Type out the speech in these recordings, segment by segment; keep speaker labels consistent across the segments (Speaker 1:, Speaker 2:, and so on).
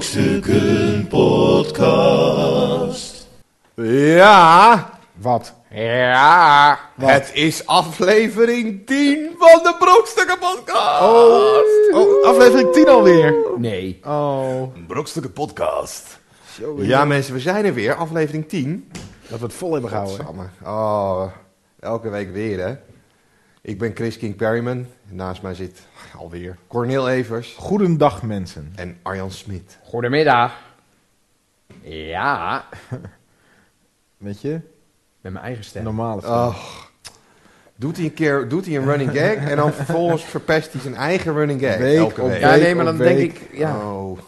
Speaker 1: Brokstukken Podcast.
Speaker 2: Ja,
Speaker 3: Wat?
Speaker 2: ja. Het is aflevering 10 van de Brokstukken Podcast. Oh,
Speaker 3: Oh, aflevering 10 alweer.
Speaker 4: Nee.
Speaker 3: Oh,
Speaker 1: Brokstukken Podcast.
Speaker 2: Ja, mensen, we zijn er weer, aflevering 10.
Speaker 3: dat we het vol hebben gehouden. hè?
Speaker 2: Godsamme. Oh, elke week weer, hè? Ik ben Chris King Perryman. Naast mij zit alweer Cornel Evers
Speaker 3: Goedendag mensen.
Speaker 2: en Arjan Smit.
Speaker 4: Goedemiddag. Ja,
Speaker 3: Weet je,
Speaker 4: met mijn eigen stem.
Speaker 3: normale stem.
Speaker 2: Oh. Doet hij een keer doet hij een running gag en dan vervolgens verpest hij zijn eigen running gag.
Speaker 3: Week
Speaker 2: elke
Speaker 3: op
Speaker 2: week.
Speaker 4: ja, nee,
Speaker 3: week
Speaker 4: maar
Speaker 3: op
Speaker 4: dan denk
Speaker 3: week.
Speaker 4: ik... Ja.
Speaker 2: Oh.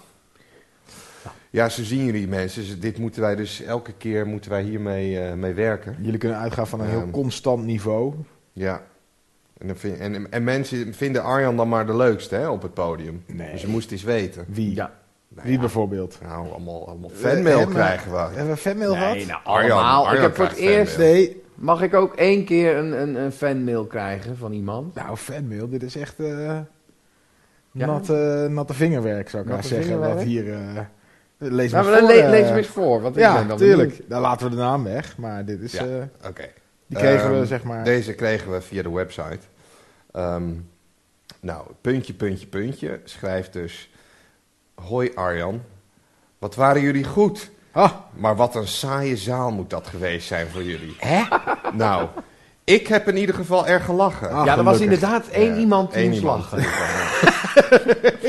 Speaker 2: Ja, zo zien jullie mensen. Dus dit moeten wij dus elke keer moeten wij hiermee eh, mee werken.
Speaker 3: Jullie kunnen uitgaan van een heel
Speaker 2: Ehm.
Speaker 3: constant niveau.
Speaker 2: Ja. En, dan vind- en, en mensen vinden Arjan dan maar de leukste hè, op het podium.
Speaker 3: Nee.
Speaker 2: Dus je moest eens weten.
Speaker 3: Wie?
Speaker 4: Ja.
Speaker 2: Nou,
Speaker 3: Wie bijvoorbeeld?
Speaker 2: nou, allemaal, allemaal
Speaker 3: Eh,
Speaker 2: fanmail
Speaker 3: eh,
Speaker 2: krijgen we.
Speaker 3: Hebben we fanmail gehad?
Speaker 4: Nee, nou,
Speaker 2: Arjan,
Speaker 4: allemaal.
Speaker 2: Arjan
Speaker 4: ik heb voor het
Speaker 2: krijgt fanmail.
Speaker 4: eerst...
Speaker 3: Nee.
Speaker 4: Mag ik ook één keer een, een, een fanmail krijgen van iemand?
Speaker 3: Nou, fanmail, dit is echt eh
Speaker 4: Ja.
Speaker 3: natte, natte vingerwerk, zou ik maar
Speaker 4: Natte
Speaker 3: zeggen. Wat
Speaker 4: vingerwerk?
Speaker 3: hier... eh, lees
Speaker 4: Nou,
Speaker 3: maar
Speaker 4: maar dan
Speaker 3: voor,
Speaker 4: le-
Speaker 3: eh.
Speaker 4: lees hem eens voor. Want ik
Speaker 3: Ja,
Speaker 4: ben dan benieuwd.
Speaker 3: tuurlijk. Dan laten we de naam weg. Maar dit is...
Speaker 2: Ja.
Speaker 3: eh,
Speaker 2: Oké.
Speaker 3: die kregen
Speaker 2: Ehm,
Speaker 3: we, zeg maar...
Speaker 2: Deze kregen we via de website. Ehm, nou, puntje, puntje, puntje. Schrijft dus... Hoi Arjan, wat waren jullie goed?
Speaker 3: Ah,
Speaker 2: Maar wat een saaie zaal moet dat geweest zijn voor jullie. Hè? Nou, ik heb in ieder geval erg gelachen.
Speaker 3: Ah,
Speaker 4: ja, er was
Speaker 3: gelukkig.
Speaker 4: inderdaad één
Speaker 2: Ja,
Speaker 4: iemand die
Speaker 2: één
Speaker 4: moest
Speaker 2: iemand.
Speaker 4: lachen.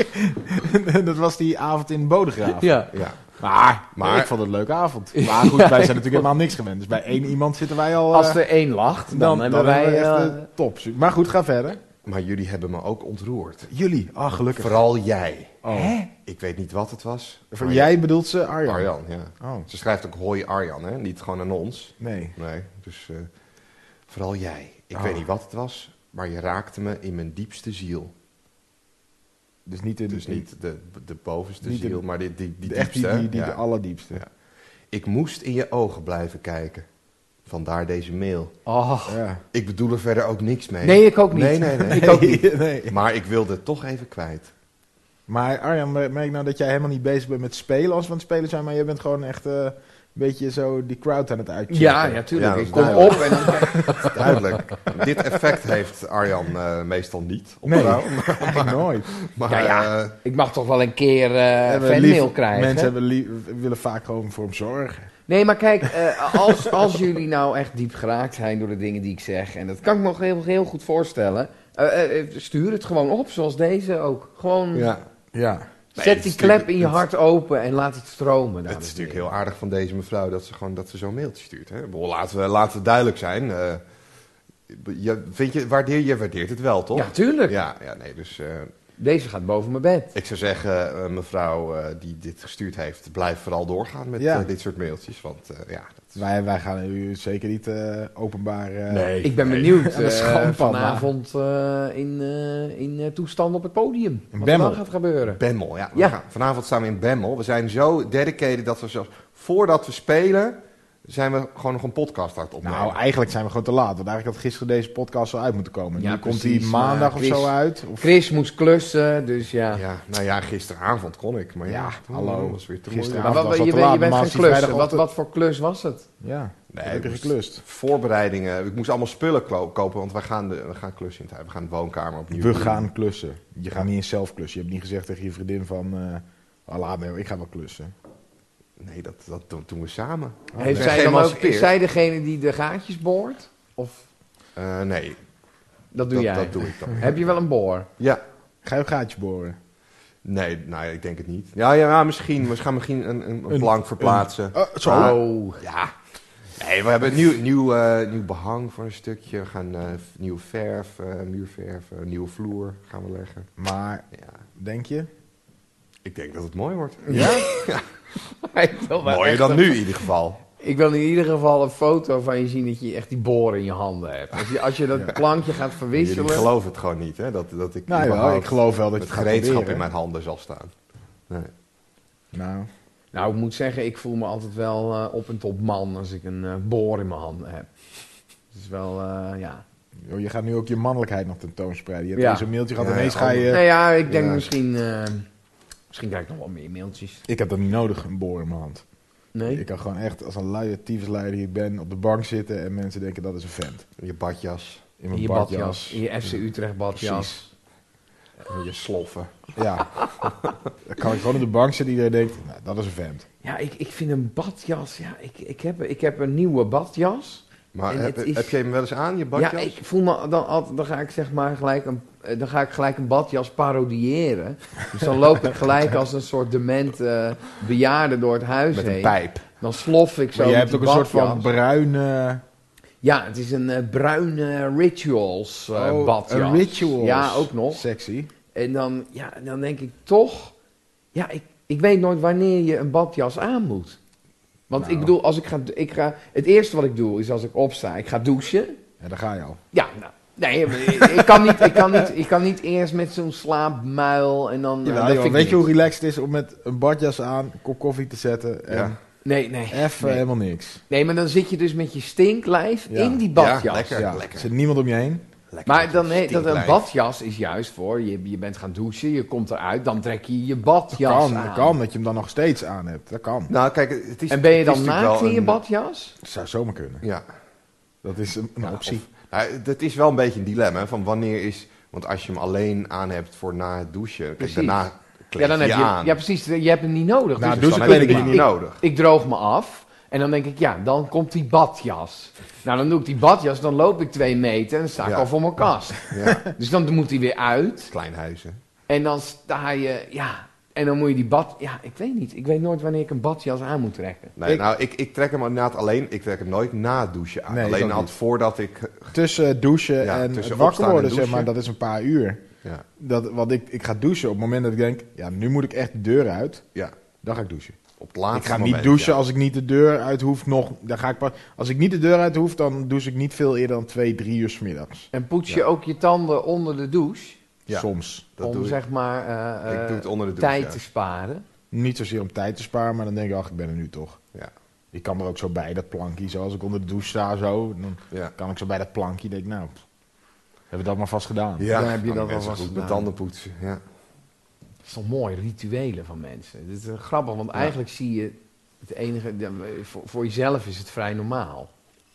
Speaker 3: dat was die avond in Bodegraaf.
Speaker 4: Ja.
Speaker 2: Ja.
Speaker 3: Maar,
Speaker 2: Maar-
Speaker 3: ik vond het een leuke avond. Maar goed, wij zijn natuurlijk helemaal niks gewend. Dus bij één iemand zitten wij al... eh,
Speaker 4: Als er één lacht, dan, hebben wij...
Speaker 3: echt
Speaker 4: eh,
Speaker 3: eh, top. Maar goed, ga verder.
Speaker 2: Maar jullie hebben me ook ontroerd.
Speaker 3: Jullie. Ah, gelukkig.
Speaker 2: Vooral jij.
Speaker 3: Oh.
Speaker 2: Ik weet niet wat het was.
Speaker 3: Voor-
Speaker 2: Maar
Speaker 3: Jij bedoelt ze Arjan?
Speaker 2: Arjan, ja.
Speaker 3: Oh,
Speaker 2: Ze schrijft ook hoi Arjan, hè? Niet gewoon aan ons.
Speaker 3: nee.
Speaker 2: Nee, dus eh, vooral jij. Ik
Speaker 3: Ah.
Speaker 2: weet niet wat het was, maar je raakte me in mijn diepste ziel.
Speaker 3: Dus niet in...
Speaker 2: Dus niet de, de bovenste
Speaker 3: Niet de-
Speaker 2: ziel, maar die, die, die
Speaker 3: echt
Speaker 2: diepste.
Speaker 3: die,
Speaker 2: hè?
Speaker 3: die, die
Speaker 2: Ja.
Speaker 3: de allerdiepste.
Speaker 2: Ja. Ik moest in je ogen blijven kijken. Vandaar deze mail.
Speaker 4: oh.
Speaker 3: Ja.
Speaker 2: Ik bedoel er verder ook niks mee.
Speaker 4: Nee, ik ook niet.
Speaker 2: Nee, nee, nee.
Speaker 3: Ik ook niet. nee.
Speaker 2: Maar ik wilde het toch even kwijt.
Speaker 3: Maar Arjan, mer- merk nou dat jij helemaal niet bezig bent met spelen als we aan het spelen zijn. Maar je bent gewoon echt eh, een beetje zo die crowd aan het uitchecken.
Speaker 4: Ja, ja, tuurlijk.
Speaker 2: Ja, dat
Speaker 4: ik
Speaker 2: is
Speaker 4: kom op
Speaker 2: duidelijk.
Speaker 4: en dan...
Speaker 2: Duidelijk. Dit effect heeft Arjan eh, meestal niet. Op
Speaker 3: Nee,
Speaker 2: jou.
Speaker 3: eigenlijk nooit.
Speaker 2: Maar,
Speaker 4: Nou ja.
Speaker 2: eh,
Speaker 4: Ik mag toch wel een keer eh
Speaker 3: Hebben we
Speaker 4: fanmail
Speaker 3: lief-
Speaker 4: krijgen.
Speaker 3: Mensen hebben lief- willen vaak gewoon voor hem zorgen.
Speaker 4: Nee, maar kijk, eh, als, als jullie nou echt diep geraakt zijn door de dingen die ik zeg, en dat kan ik me nog heel, heel goed voorstellen, eh, eh, stuur het gewoon op, zoals deze ook. Gewoon
Speaker 2: ja.
Speaker 3: Ja.
Speaker 2: Nee,
Speaker 4: zet
Speaker 2: het
Speaker 4: die
Speaker 2: is
Speaker 4: klep
Speaker 2: natuurlijk-
Speaker 4: in je
Speaker 2: het-
Speaker 4: hart open en laat het stromen.
Speaker 2: Het is natuurlijk heel aardig van deze mevrouw dat ze, gewoon, dat ze zo'n mailtje stuurt. Hè? Ik bedoel, Laten, we, laten we duidelijk zijn. eh, je, vind je, waardeer, je waardeert het wel, toch?
Speaker 4: Ja, tuurlijk.
Speaker 2: Ja, ja, nee, dus eh,
Speaker 4: Deze gaat boven mijn bed.
Speaker 2: ik zou zeggen, eh, mevrouw eh, die dit gestuurd heeft, blijf vooral doorgaan met
Speaker 3: Ja.
Speaker 2: eh, dit soort mailtjes. Want eh, ja, dat is...
Speaker 3: Wij, wij gaan u zeker niet eh, openbaar... eh,
Speaker 4: ik ben benieuwd
Speaker 3: Aan de
Speaker 4: eh,
Speaker 3: schandpaal,
Speaker 4: vanavond eh, in, eh, in eh, toestand op het podium. Wat er
Speaker 3: Bemmel.
Speaker 4: dan gaat gebeuren.
Speaker 2: Bemmel, ja. We
Speaker 4: Ja.
Speaker 2: gaan- vanavond staan we in Bemmel. We zijn zo dedicated dat we zelfs voordat we spelen, zijn we gewoon nog een podcast aan het opnemen.
Speaker 3: Nou, eigenlijk zijn we gewoon te laat. Want eigenlijk had gisteren deze podcast al uit moeten komen.
Speaker 4: Ja,
Speaker 3: nu komt die
Speaker 4: precies,
Speaker 3: maandag
Speaker 4: maar
Speaker 3: of
Speaker 4: Chris-
Speaker 3: zo uit. Of
Speaker 4: Chris moest klussen, dus ja.
Speaker 2: ja, nou ja, gisteravond kon ik, maar ja,
Speaker 3: Ja, hallo.
Speaker 2: was weer te
Speaker 3: Gisteravond.
Speaker 4: Maar
Speaker 2: moeilijk.
Speaker 3: dat was al te
Speaker 4: wat, je, bent-
Speaker 3: laat,
Speaker 4: je bent
Speaker 3: normaal
Speaker 4: gaan
Speaker 3: is die
Speaker 4: klussen. Wat,
Speaker 3: vrijdagochtend.
Speaker 4: wat voor klus was het?
Speaker 3: Ja,
Speaker 2: Nee,
Speaker 3: nee,
Speaker 2: dus- ik
Speaker 3: heb
Speaker 4: dus-
Speaker 2: moest-
Speaker 3: geklust.
Speaker 2: Voorbereidingen. Ik moest allemaal spullen klo- kopen, want wij gaan, de, we gaan klussen in het huis. We gaan de woonkamer opnieuw.
Speaker 3: We
Speaker 2: doen.
Speaker 3: gaan klussen. Je gaat niet eens zelf klussen. Je hebt niet gezegd tegen je vriendin van... eh "Ah, laat me, ik ga wel klussen.
Speaker 2: Nee, dat, dat doen- doen we samen.
Speaker 4: Heeft
Speaker 2: nee.
Speaker 4: zij dan ook,
Speaker 2: Geëmancipeerd.
Speaker 4: is zij degene die de gaatjes boort? Of
Speaker 2: Eh, nee,
Speaker 4: dat doe
Speaker 2: dat,
Speaker 4: jij?
Speaker 2: dat doe ik dan.
Speaker 4: Heb je wel een boor?
Speaker 2: Ja.
Speaker 3: Ga je een gaatje boren?
Speaker 2: Nee, nee, ik denk het niet. Ja, ja, ja, misschien. We gaan misschien een, een, een
Speaker 3: Een-
Speaker 2: plank verplaatsen.
Speaker 3: Eh, zo.
Speaker 2: Ah.
Speaker 4: Oh.
Speaker 2: Ja. Nee, we hebben nieuw, nieuw, eh, nieuw behang voor een stukje. We gaan eh, f- nieuwe verf, eh, muurverf, eh, nieuwe vloer gaan we leggen.
Speaker 3: Maar,
Speaker 2: Ja.
Speaker 3: denk je?
Speaker 2: Ik denk dat het mooi wordt.
Speaker 3: Ja?
Speaker 4: Ik wil wel
Speaker 2: Mooier
Speaker 4: echt eh,
Speaker 2: dan
Speaker 4: een-
Speaker 2: nu in ieder geval.
Speaker 4: Ik wil in ieder geval een foto van je zien dat je echt die boor in je handen hebt. Als je, als je dat plankje gaat
Speaker 2: Jullie
Speaker 4: verwisselen.
Speaker 2: geloven het gewoon niet, hè? Dat, dat ik
Speaker 3: nou ja,
Speaker 2: überhaupt
Speaker 3: ik geloof wel dat je
Speaker 2: het
Speaker 3: het gaat
Speaker 2: gereedschap
Speaker 3: proberen.
Speaker 2: in mijn handen zal staan. Nee.
Speaker 3: Nou,
Speaker 4: Nou, ik moet zeggen, ik voel me altijd wel eh, op en top man als ik een eh, boor in mijn handen heb. Het is wel, eh, ja.
Speaker 3: joh, je gaat nu ook je mannelijkheid nog tentoonspreiden. Je hebt
Speaker 4: Ja.
Speaker 3: eens een mailtje gehad
Speaker 2: Ja,
Speaker 3: ineens
Speaker 2: ja,
Speaker 3: ga je...
Speaker 4: Nou ja, ik denk
Speaker 2: Ja.
Speaker 4: misschien... eh, Misschien krijg ik nog wel meer mailtjes.
Speaker 3: Ik heb dat niet nodig, een boor in mijn hand.
Speaker 4: Nee?
Speaker 3: Ik kan gewoon echt als een luie tyfusleider die ik ben op de bank zitten en mensen denken dat is een vent.
Speaker 2: Je badjas,
Speaker 3: In
Speaker 4: In
Speaker 3: mijn
Speaker 4: je badjas.
Speaker 3: badjas.
Speaker 4: In je FC Utrecht badjas.
Speaker 3: Precies.
Speaker 2: je sloffen.
Speaker 3: Ja. Dan kan ik gewoon op de bank zitten iedereen denkt, nou, dat is een vent.
Speaker 4: Ja, ik, ik vind een badjas. Ja, ik, ik, heb, ik heb een nieuwe badjas.
Speaker 2: Maar
Speaker 4: En
Speaker 2: heb,
Speaker 4: het is-
Speaker 2: heb je hem wel eens aan, je badjas?
Speaker 4: Ja, ik voel me dan altijd. Dan ga ik zeg maar gelijk een, eh, dan ga ik gelijk een badjas parodiëren. Dus dan loop ik gelijk als een soort dement eh, bejaarde door het huis
Speaker 2: Met een
Speaker 4: heen.
Speaker 2: pijp.
Speaker 4: Dan slof ik zo.
Speaker 3: Maar jij
Speaker 4: Dus met
Speaker 3: hebt ook
Speaker 4: die
Speaker 3: een soort van
Speaker 4: badjas.
Speaker 3: bruine...
Speaker 4: Ja, het is een eh, bruine rituals eh,
Speaker 3: Oh,
Speaker 4: badjas.
Speaker 3: een rituals.
Speaker 4: Ja, ook nog.
Speaker 3: Sexy.
Speaker 4: En dan, ja, dan denk ik toch, ja, ik, ik weet nooit wanneer je een badjas aan moet. Want
Speaker 3: Nou.
Speaker 4: ik bedoel, als ik ga, ik ga, het eerste wat ik doe is als ik opsta, ik ga douchen.
Speaker 3: Ja, daar ga je al.
Speaker 4: Ja, nou, nee, maar ik, ik kan niet, ik, kan niet, ik kan niet eerst met zo'n slaapmuil en dan... eh,
Speaker 3: Jawel,
Speaker 4: dat
Speaker 3: joh,
Speaker 4: vind ik
Speaker 3: weet je
Speaker 4: niet.
Speaker 3: hoe relaxed het is om met een badjas aan een kop koffie te zetten en
Speaker 2: Ja.
Speaker 4: Nee, nee.
Speaker 3: even
Speaker 4: Nee.
Speaker 3: helemaal niks.
Speaker 4: Nee, maar dan zit je dus met je stinklijf
Speaker 3: Ja.
Speaker 4: in die badjas.
Speaker 2: Ja, lekker.
Speaker 3: Ja,
Speaker 2: lekker.
Speaker 3: Er zit niemand om je heen.
Speaker 2: Lekker
Speaker 4: Maar
Speaker 2: met je
Speaker 4: dan, nee, dat een
Speaker 2: stinklijf.
Speaker 4: badjas is juist voor, je, je bent gaan douchen, je komt eruit, dan trek je je badjas
Speaker 3: kan,
Speaker 4: aan.
Speaker 3: dat kan, dat je hem dan nog steeds aan hebt. Dat kan.
Speaker 2: Nou, kijk, het is
Speaker 4: En ben je
Speaker 2: het is
Speaker 4: dan
Speaker 2: natuurlijk
Speaker 4: naakt
Speaker 2: wel
Speaker 4: in je
Speaker 2: een-
Speaker 4: badjas?
Speaker 3: Dat zou zomaar kunnen.
Speaker 2: Ja.
Speaker 3: Dat is een, een
Speaker 2: Ja,
Speaker 3: optie.
Speaker 2: Nou, dat is wel een beetje een dilemma, hè, van wanneer is... Want als je hem alleen aan hebt voor na het douchen, kijk,
Speaker 4: Precies.
Speaker 2: daarna kleed
Speaker 4: Ja, dan
Speaker 2: je
Speaker 4: heb
Speaker 2: je
Speaker 4: je,
Speaker 2: aan.
Speaker 4: ja, precies. Je hebt hem niet nodig.
Speaker 3: Nou, doe
Speaker 4: dus
Speaker 2: dus
Speaker 3: ze
Speaker 2: dan
Speaker 3: kleding
Speaker 2: heb je die
Speaker 3: maar.
Speaker 2: niet nodig.
Speaker 4: ik droog me af. En dan denk ik, ja, dan komt die badjas. Nou, dan doe ik die badjas, dan loop ik twee meter en dan sta ik
Speaker 2: Ja.
Speaker 4: al voor mijn kast.
Speaker 2: Ja,
Speaker 4: Dus dan moet die weer uit.
Speaker 2: klein huizen.
Speaker 4: En dan sta je, ja. En dan moet je die bad... Ja, ik weet niet. Ik weet nooit wanneer ik een badjas aan moet trekken.
Speaker 2: Nee,
Speaker 3: Ik-
Speaker 2: nou, ik, ik trek hem inderdaad alleen. Ik trek hem nooit na het douchen aan.
Speaker 3: Nee, ik
Speaker 2: alleen
Speaker 3: ook
Speaker 2: had
Speaker 3: niet.
Speaker 2: voordat ik...
Speaker 3: Tussen douchen
Speaker 2: Ja,
Speaker 3: en
Speaker 2: tussen
Speaker 3: het
Speaker 2: opstaan
Speaker 3: wakker
Speaker 2: en
Speaker 3: worden, zeg
Speaker 2: douchen.
Speaker 3: maar, dat is een paar uur.
Speaker 2: Ja,
Speaker 3: Dat, want ik, ik ga douchen op het moment dat ik denk, ja, nu moet ik echt de deur uit.
Speaker 2: ja
Speaker 3: Dan ga ik douchen.
Speaker 2: op het laatste
Speaker 3: ik ga
Speaker 2: moment,
Speaker 3: niet douchen
Speaker 2: ja.
Speaker 3: als ik niet de deur uit hoef. Nog, dan ga ik pas, als ik niet de deur uit hoef, dan douche ik niet veel eerder dan twee, drie uur 's middags.
Speaker 4: En poets je ook je tanden onder de douche.
Speaker 2: Ja.
Speaker 3: Soms.
Speaker 2: Dat
Speaker 4: om
Speaker 2: doe ik.
Speaker 4: zeg maar eh,
Speaker 2: Ik doe het onder de douche,
Speaker 4: tijd
Speaker 2: ja.
Speaker 4: te sparen.
Speaker 3: Niet zozeer om tijd te sparen, maar dan denk ik, ach, ik ben er nu toch.
Speaker 2: Ja.
Speaker 3: Ik kan er ook zo bij, dat plankje. Zo, als ik onder de douche sta, zo, dan
Speaker 2: Ja.
Speaker 3: kan ik zo bij dat plankje. denk ik, nou, pff, hebben we dat maar vast gedaan.
Speaker 2: Ja,
Speaker 4: Dan heb je
Speaker 2: kan
Speaker 4: dat
Speaker 2: mensen
Speaker 4: alvast
Speaker 2: goed met
Speaker 4: gedaan.
Speaker 2: tanden poetsen. Ja.
Speaker 4: Dat is toch mooi, rituelen van mensen. Dit is eh, grappig, want eigenlijk zie je het enige. de- Voor, voor jezelf is het vrij normaal.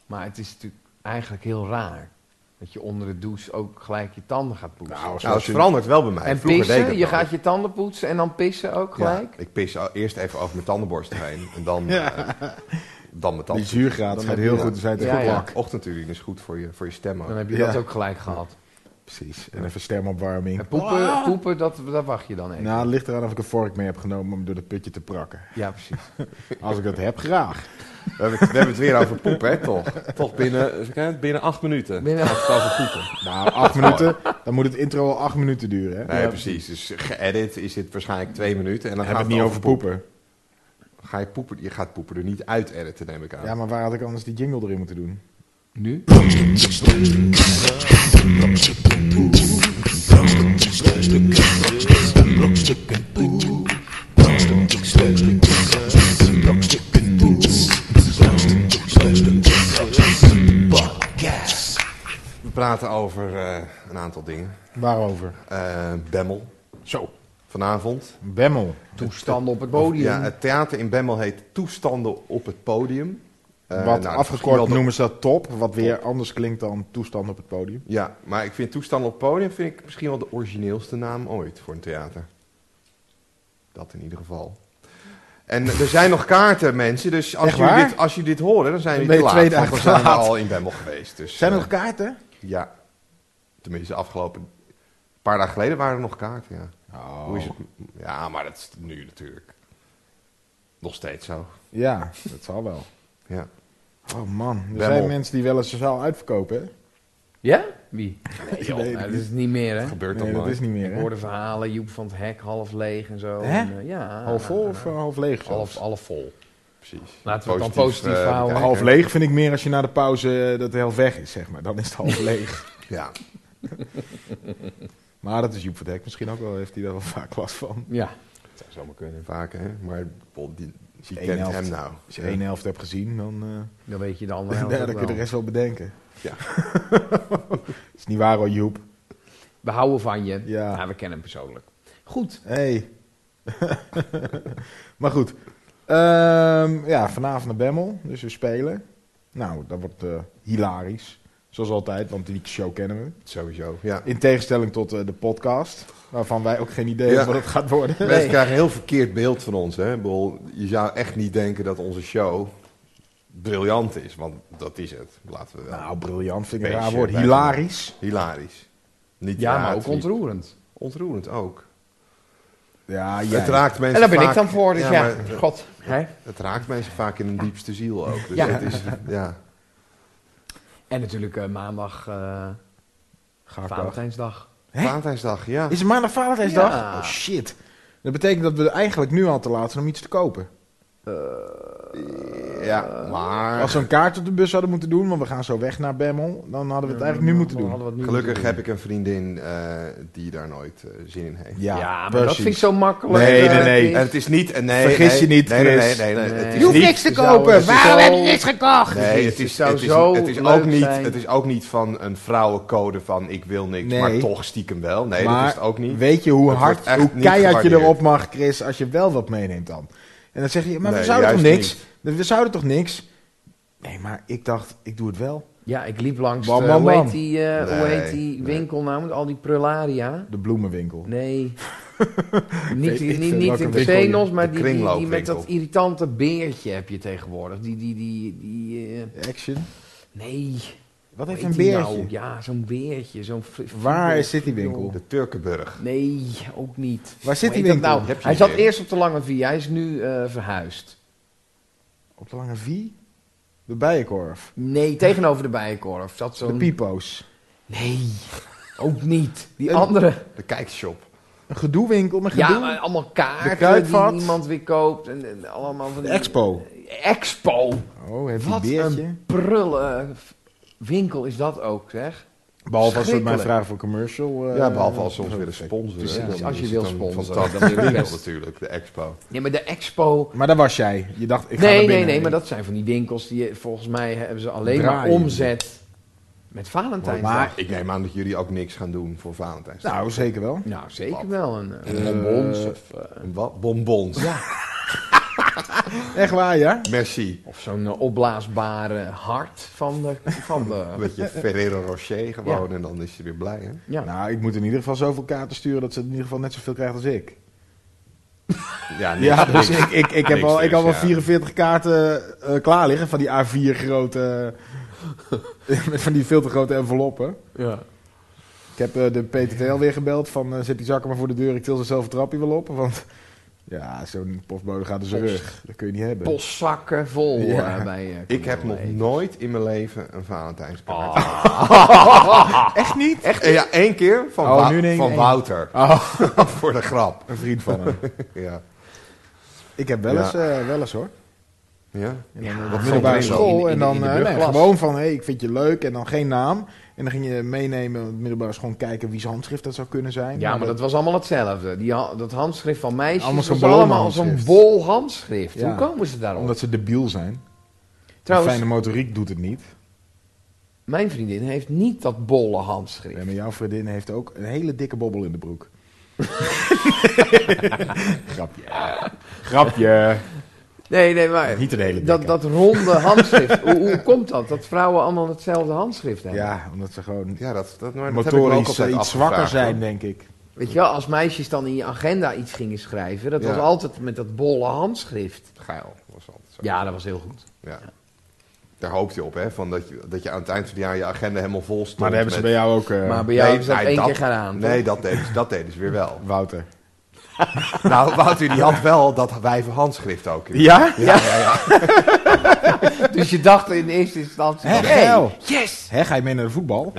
Speaker 4: Maar het is natuurlijk eigenlijk heel raar. Dat je onder de douche ook gelijk je tanden gaat poetsen.
Speaker 3: Nou,
Speaker 2: Nou, het
Speaker 3: zoals je-
Speaker 2: verandert wel bij mij.
Speaker 4: en
Speaker 2: Vroeger deed ik
Speaker 4: pissen,
Speaker 2: dat
Speaker 4: je
Speaker 2: nooit.
Speaker 4: gaat je tanden poetsen en dan pissen ook
Speaker 2: Ja,
Speaker 4: gelijk.
Speaker 2: ik pis al- eerst even over mijn tandenborstel heen. En dan,
Speaker 3: Ja.
Speaker 2: eh, dan mijn
Speaker 3: die
Speaker 2: tanden.
Speaker 3: zuurgraad
Speaker 2: Dan
Speaker 3: schijnt
Speaker 2: heb je
Speaker 3: heel
Speaker 2: dat.
Speaker 3: goed te zijn
Speaker 4: Ja,
Speaker 3: tegen
Speaker 4: ja.
Speaker 3: plak.
Speaker 2: Ochtendurine is goed voor je, voor je stem ook.
Speaker 4: Dan heb je
Speaker 3: Ja.
Speaker 4: dat ook gelijk gehad.
Speaker 3: Precies. En even stemopwarming.
Speaker 4: En poepen,
Speaker 2: Ah.
Speaker 4: poepen dat, daar wacht je dan even.
Speaker 3: Nou, het ligt eraan of ik een vork mee heb genomen om door de putje te prakken.
Speaker 4: Ja, precies.
Speaker 3: Als ik dat heb, graag.
Speaker 2: We, hebben het, we hebben het weer over poep, hè, toch? Toch binnen, even kijken, binnen acht minuten.
Speaker 4: Binnen-
Speaker 2: Als het over poepen.
Speaker 3: Nou, acht minuten. Dan moet het intro al acht minuten duren, hè?
Speaker 2: Nee, precies. Dus geëdit is dit waarschijnlijk twee minuten. En dan
Speaker 3: Dan
Speaker 2: gaat
Speaker 3: hebben we het niet over poepen.
Speaker 2: poep. Ga je, poepen, je gaat poepen er niet uit editen, neem ik aan.
Speaker 3: Ja, maar waar had ik anders die jingle erin moeten doen?
Speaker 4: Nu?
Speaker 2: We praten over eh, een aantal dingen.
Speaker 3: Waarover?
Speaker 2: Eh, Bemmel,
Speaker 3: Zo,
Speaker 2: vanavond.
Speaker 3: Bemmel.
Speaker 4: Toestanden op het podium.
Speaker 2: Ja, het theater in Bemmel heet Toestanden op het podium. Eh,
Speaker 3: Wat
Speaker 2: nou, misschien
Speaker 3: afgekort
Speaker 2: wel de-
Speaker 3: noemen ze dat top. Wat weer anders klinkt dan toestand op het podium.
Speaker 2: Ja, maar ik vind Toestanden op het podium vind ik misschien wel de origineelste naam ooit voor een theater. Dat in ieder geval. En er zijn nog kaarten, mensen. Dus als,
Speaker 3: Echt
Speaker 2: jullie
Speaker 3: waar?
Speaker 2: dit, als jullie dit horen, dan zijn
Speaker 3: Dan
Speaker 2: jullie
Speaker 3: ben
Speaker 2: te
Speaker 3: je
Speaker 2: laat.
Speaker 3: twee dagen
Speaker 2: want we zijn
Speaker 3: te laat.
Speaker 2: al in Bemmel geweest. Dus,
Speaker 3: Zijn er
Speaker 2: eh,
Speaker 3: nog kaarten?
Speaker 2: Ja. Tenminste, afgelopen... Een paar dagen geleden waren er nog kaarten, ja. Hoe is
Speaker 3: Oh.
Speaker 2: het? Ja, maar dat is nu natuurlijk nog steeds zo.
Speaker 3: Ja, dat zal wel.
Speaker 2: Ja.
Speaker 3: Oh man, er
Speaker 2: Bemmel.
Speaker 3: zijn mensen die wel eens de zaal uitverkopen, hè?
Speaker 4: Ja? Wie?
Speaker 3: joh.
Speaker 4: Nee, dat is niet meer, hè?
Speaker 2: Dat gebeurt
Speaker 3: Nee,
Speaker 2: toch
Speaker 3: dat
Speaker 2: nooit.
Speaker 3: is niet meer,
Speaker 4: Ik
Speaker 3: hè?
Speaker 4: hoorde verhalen, Joep van het Hek, half leeg en zo.
Speaker 3: Hè?
Speaker 4: En, eh, ja.
Speaker 3: Half vol of eh, half leeg? zelfs?
Speaker 4: half, half vol.
Speaker 2: Precies.
Speaker 4: Laten we het dan positief
Speaker 2: eh,
Speaker 4: houden.
Speaker 2: bekijken.
Speaker 3: Half leeg vind ik meer als je na de pauze eh, dat de helft weg is, zeg maar. Dan is het half leeg.
Speaker 2: Ja.
Speaker 3: Maar dat is Joep van Dijk misschien ook wel, heeft hij daar wel vaak last van.
Speaker 4: Ja. Dat zou zomaar kunnen.
Speaker 2: Vaak, hè? Maar Bob, die, die
Speaker 3: Eén
Speaker 2: kent
Speaker 3: helft.
Speaker 2: hem nou.
Speaker 3: Als je één helft hebt gezien, dan, eh,
Speaker 4: Dan weet je de andere helft
Speaker 3: ja,
Speaker 4: ook
Speaker 3: dan kun je de
Speaker 4: wel.
Speaker 3: rest wel bedenken.
Speaker 2: Ja.
Speaker 3: is niet waar hoor, Joep.
Speaker 4: We houden van je.
Speaker 3: Ja.
Speaker 4: Nou, we kennen hem persoonlijk. Goed.
Speaker 3: Hey. Maar goed. Ehm, ja, vanavond naar Bemmel. Dus we spelen. Nou, dat wordt eh, hilarisch. Zoals altijd, want die show kennen we.
Speaker 2: Sowieso, ja.
Speaker 3: In tegenstelling tot eh, de podcast, waarvan wij ook geen idee hebben
Speaker 2: Ja.
Speaker 3: wat het gaat worden.
Speaker 2: Mensen krijgen een heel verkeerd beeld van ons. Hè? Ik bedoel, je zou echt niet denken dat onze show briljant is, want dat is het. Laten we wel.
Speaker 3: Nou, briljant vind ik een
Speaker 2: Beetje
Speaker 3: raar woord.
Speaker 2: bij-
Speaker 3: Hilarisch.
Speaker 2: Hilarisch. Niet
Speaker 4: Ja, maar
Speaker 2: raad,
Speaker 4: ook
Speaker 2: niet-
Speaker 4: ontroerend.
Speaker 2: ontroerend ook.
Speaker 3: Ja, jij.
Speaker 2: Het raakt mensen
Speaker 4: En daar ben
Speaker 2: vaak,
Speaker 4: ik dan voor, dus ja,
Speaker 2: maar het-
Speaker 4: god. Hè?
Speaker 2: Het raakt mensen vaak in hun diepste ziel ook. Dus
Speaker 4: Ja.
Speaker 2: dat is, ja.
Speaker 4: En natuurlijk eh, maandag, eh
Speaker 3: Gakdag.
Speaker 4: Valentijnsdag.
Speaker 3: Hè?
Speaker 2: Valentijnsdag, ja.
Speaker 3: Is het maandag Valentijnsdag?
Speaker 4: Ja.
Speaker 3: Oh shit. Dat betekent dat we eigenlijk nu al te laat zijn om iets te kopen.
Speaker 2: Ja, maar...
Speaker 3: Als we een kaart op de bus hadden moeten doen, want we gaan zo weg naar Bemmel, dan hadden we het eigenlijk nu moeten doen.
Speaker 2: Gelukkig heb ik een vriendin eh, die daar nooit eh, zin in heeft.
Speaker 4: Ja,
Speaker 3: Ja,
Speaker 4: maar dat
Speaker 3: precies.
Speaker 4: vind ik zo makkelijk.
Speaker 3: Nee,
Speaker 4: eh,
Speaker 3: nee, nee.
Speaker 2: En het is niet... eh, Nee,
Speaker 3: Vergis
Speaker 2: nee,
Speaker 3: je niet,
Speaker 2: nee, nee,
Speaker 3: Chris.
Speaker 2: nee, nee, nee,
Speaker 4: Nee.
Speaker 2: Het
Speaker 4: Je
Speaker 2: is
Speaker 4: hoeft
Speaker 2: niet,
Speaker 4: niks te
Speaker 2: het zou-
Speaker 4: kopen.
Speaker 2: het is
Speaker 4: Waarom
Speaker 2: zo-
Speaker 4: heb je niks gekocht?
Speaker 2: Nee, het
Speaker 4: Het
Speaker 2: is,
Speaker 4: zou
Speaker 2: het is,
Speaker 4: zo
Speaker 2: het is
Speaker 4: leuk
Speaker 2: ook niet,
Speaker 4: zijn.
Speaker 2: het is ook niet van een vrouwencode van ik wil niks,
Speaker 3: Nee.
Speaker 2: maar toch stiekem wel. Nee,
Speaker 3: Maar
Speaker 2: dat is het ook niet.
Speaker 3: Weet je hoe
Speaker 2: Het wordt
Speaker 3: hard,
Speaker 2: echt
Speaker 3: hoe
Speaker 2: niet
Speaker 3: keihard je
Speaker 2: gewaardeerd.
Speaker 3: erop mag, Chris, als je wel wat meeneemt dan? En dan zeg je, maar we
Speaker 2: Nee,
Speaker 3: zouden toch
Speaker 2: juist
Speaker 3: niks? We zouden toch niks? Nee, maar ik dacht, ik doe het wel.
Speaker 4: Ja, ik liep langs.
Speaker 3: Bam,
Speaker 4: de-
Speaker 3: bam,
Speaker 4: hoe,
Speaker 3: bam.
Speaker 4: Heet die, eh, hoe
Speaker 2: Nee,
Speaker 4: heet die
Speaker 2: nee.
Speaker 4: winkel nou? Met al die prularia.
Speaker 3: De bloemenwinkel.
Speaker 4: Nee.
Speaker 3: Weet
Speaker 4: niet
Speaker 3: ik
Speaker 4: niet,
Speaker 3: veel
Speaker 4: niet
Speaker 3: welke
Speaker 4: in
Speaker 3: winkel
Speaker 4: Xenos, maar
Speaker 2: de
Speaker 4: die, die, die met
Speaker 2: kringloopwinkel.
Speaker 4: dat irritante beertje heb je tegenwoordig. Die, die, die, die, eh,
Speaker 3: Action.
Speaker 4: nee.
Speaker 3: Wat
Speaker 4: Hoe
Speaker 3: heeft
Speaker 4: heet
Speaker 3: een
Speaker 4: die
Speaker 3: beertje?
Speaker 4: nou? Ja, zo'n beertje. Zo'n fri-
Speaker 3: Waar
Speaker 4: fri-
Speaker 3: is dit die winkel?
Speaker 2: De Turkenburg.
Speaker 4: Nee, ook niet.
Speaker 3: Waar zit
Speaker 4: Hoe
Speaker 3: die
Speaker 4: heet
Speaker 3: winkel?
Speaker 4: dat Nou,
Speaker 2: Heb je
Speaker 4: hij
Speaker 2: een
Speaker 4: zat
Speaker 2: idee?
Speaker 4: eerst op de Lange Via. Hij is nu eh, verhuisd.
Speaker 3: Op de Lange V? De Bijenkorf.
Speaker 4: Nee, tegenover de Bijenkorf. Zat
Speaker 3: De
Speaker 4: zo'n...
Speaker 3: Pipo's.
Speaker 4: Nee, ook niet. Die
Speaker 3: Een-
Speaker 4: andere.
Speaker 2: De kijkshop.
Speaker 3: Een gedoewinkel met gedoe.
Speaker 4: Ja, maar allemaal
Speaker 3: De
Speaker 4: kaarten die
Speaker 3: Kruidvat.
Speaker 4: niemand weer koopt. En, en allemaal van
Speaker 3: De
Speaker 4: die-
Speaker 3: Expo.
Speaker 4: Expo.
Speaker 3: Oh, heb je
Speaker 4: Wat
Speaker 3: beertje?
Speaker 4: een prullen winkel is dat ook, zeg.
Speaker 3: Behalve als ze het mij
Speaker 4: Schrikkelijk.
Speaker 3: vragen voor commercial. eh,
Speaker 2: ja, behalve als ze ons willen sponsoren.
Speaker 4: precies.
Speaker 2: hè, dan
Speaker 4: Als je
Speaker 2: is
Speaker 4: wil
Speaker 2: het een
Speaker 4: sponsoren,
Speaker 2: fantastisch
Speaker 4: dan wil je
Speaker 2: winkel
Speaker 4: best.
Speaker 2: natuurlijk, de expo.
Speaker 4: Nee, maar de Expo...
Speaker 3: Maar daar was jij. Je dacht, ik ga
Speaker 4: nee,
Speaker 3: naar
Speaker 4: nee,
Speaker 3: binnen.
Speaker 4: nee, maar dat zijn van die winkels die eh, volgens mij hebben ze alleen maar
Speaker 3: Draaien.
Speaker 4: omzet met Valentijnsdag.
Speaker 2: Maar ik neem aan dat jullie ook niks gaan doen voor Valentijnsdag.
Speaker 3: Nou, zeker wel.
Speaker 4: Nou, zeker wel. Een, eh,
Speaker 3: Eh,
Speaker 4: bonbons of, eh,
Speaker 2: Een Wat? Bonbons.
Speaker 3: Echt waar, ja?
Speaker 2: Merci.
Speaker 4: of zo'n eh, opblaasbare hart van de... Van de
Speaker 2: Een beetje Ferrero Rocher gewoon en dan is je weer blij, hè?
Speaker 4: ja.
Speaker 3: Nou, ik moet in ieder geval zoveel kaarten sturen dat ze in ieder geval net zoveel krijgt als ik.
Speaker 2: Ja, niks,
Speaker 3: Ja, dus
Speaker 2: niks.
Speaker 3: ik, ik, ik heb
Speaker 2: Niks
Speaker 3: al, ik
Speaker 2: dus,
Speaker 3: heb al
Speaker 2: ja.
Speaker 3: 44 kaarten eh, klaar liggen van die A4 grote... met van die veel te grote enveloppen.
Speaker 4: ja.
Speaker 3: Ik heb eh, de PTTL weer gebeld van eh, zet die zakken maar voor de deur, ik til ze zelf een trapje wel op. Want ja, zo'n postbode gaat dus zijn rug. Dat kun je niet hebben.
Speaker 4: Postzakken vol
Speaker 3: Ja.
Speaker 4: eh, bij... eh,
Speaker 2: Ik heb nog
Speaker 4: Conrad.
Speaker 2: nooit in mijn leven een Valentijnskaart.
Speaker 3: Echt niet?
Speaker 2: Echt? Eh, Ja, één keer van,
Speaker 3: Oh,
Speaker 2: Wou-
Speaker 3: nu in één-
Speaker 2: van
Speaker 3: één.
Speaker 2: Wouter.
Speaker 3: Oh,
Speaker 2: voor de grap.
Speaker 3: een vriend van hem.
Speaker 2: Ja.
Speaker 3: Ik heb wel,
Speaker 2: Ja.
Speaker 3: eens, eh, wel eens hoor.
Speaker 2: ja.
Speaker 3: En dan, eh,
Speaker 4: Ja,
Speaker 3: op
Speaker 4: van
Speaker 3: middelbare
Speaker 2: in de-
Speaker 3: school.
Speaker 4: in de-
Speaker 3: en
Speaker 4: in
Speaker 3: dan
Speaker 4: de
Speaker 3: eh, nee,
Speaker 4: brugklas.
Speaker 3: gewoon van, hé, hey, ik vind je leuk. En dan geen naam. En dan ging je meenemen op de middelbare school en kijken wie zijn handschrift dat zou kunnen zijn.
Speaker 4: Ja, maar dat was allemaal hetzelfde. Die, ha- dat handschrift van meisjes
Speaker 3: Allemaal
Speaker 4: was
Speaker 3: zo'n bol
Speaker 4: allemaal zo'n
Speaker 3: handschrift.
Speaker 4: bol handschrift.
Speaker 3: Ja.
Speaker 4: Hoe komen ze daarop?
Speaker 3: Omdat ze debiel zijn.
Speaker 4: Trouwens,
Speaker 3: Fijne motoriek doet het niet.
Speaker 4: mijn vriendin heeft niet dat bolle
Speaker 3: Ja,
Speaker 4: handschrift.
Speaker 3: Eh, maar jouw vriendin heeft ook een hele dikke bobbel in de broek. Grapje. Grapje.
Speaker 4: Nee, nee, maar
Speaker 3: Niet een hele dikke.
Speaker 4: dat, dat ronde handschrift. hoe, hoe komt dat? Dat vrouwen allemaal hetzelfde handschrift hebben.
Speaker 3: Ja, omdat ze gewoon
Speaker 2: Ja, dat, dat, maar dat heb ik me ook
Speaker 3: motorisch eh,
Speaker 2: altijd
Speaker 3: iets zwakker
Speaker 2: afgevraagd, hoor.
Speaker 3: zijn, denk ik.
Speaker 4: Weet je wel, als meisjes dan in je agenda iets gingen schrijven, dat
Speaker 2: Ja.
Speaker 4: was altijd met dat bolle handschrift.
Speaker 3: eh.
Speaker 2: Geil was altijd zo.
Speaker 4: Ja, dat was heel goed.
Speaker 2: Ja. Daar hoopte je op, hè? Van dat, je, dat je aan het eind van het jaar je agenda helemaal vol stond.
Speaker 3: Maar daar hebben ze bij jou ook, eh,
Speaker 4: maar bij jou
Speaker 2: Nee,
Speaker 4: hebben ze dat
Speaker 2: nee,
Speaker 4: één
Speaker 2: dat-
Speaker 4: keer gedaan.
Speaker 2: Nee, dat deden, ze, dat deden ze weer wel.
Speaker 3: Wouter.
Speaker 2: nou, Wouter die had wel dat wijvenhandschrift ook. in.
Speaker 3: Ja?
Speaker 4: Ja, toch? dus je dacht in eerste instantie:
Speaker 3: Hè,
Speaker 4: hey,
Speaker 3: geil.
Speaker 4: yes!
Speaker 3: Hè, ga je mee naar de voetbal?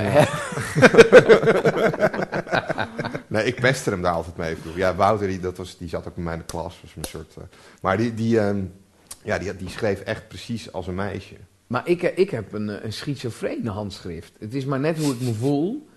Speaker 2: Nee, ik pester hem daar altijd mee. Ik bedoel, Ja, Wouter die, dat was, die zat ook bij mij in de klas. Was een soort, eh, maar die, die, ehm, ja, die, die schreef echt precies als een meisje.
Speaker 4: Maar ik, ik heb een, eh, een schizofrene handschrift. Het is maar net hoe ik me voel.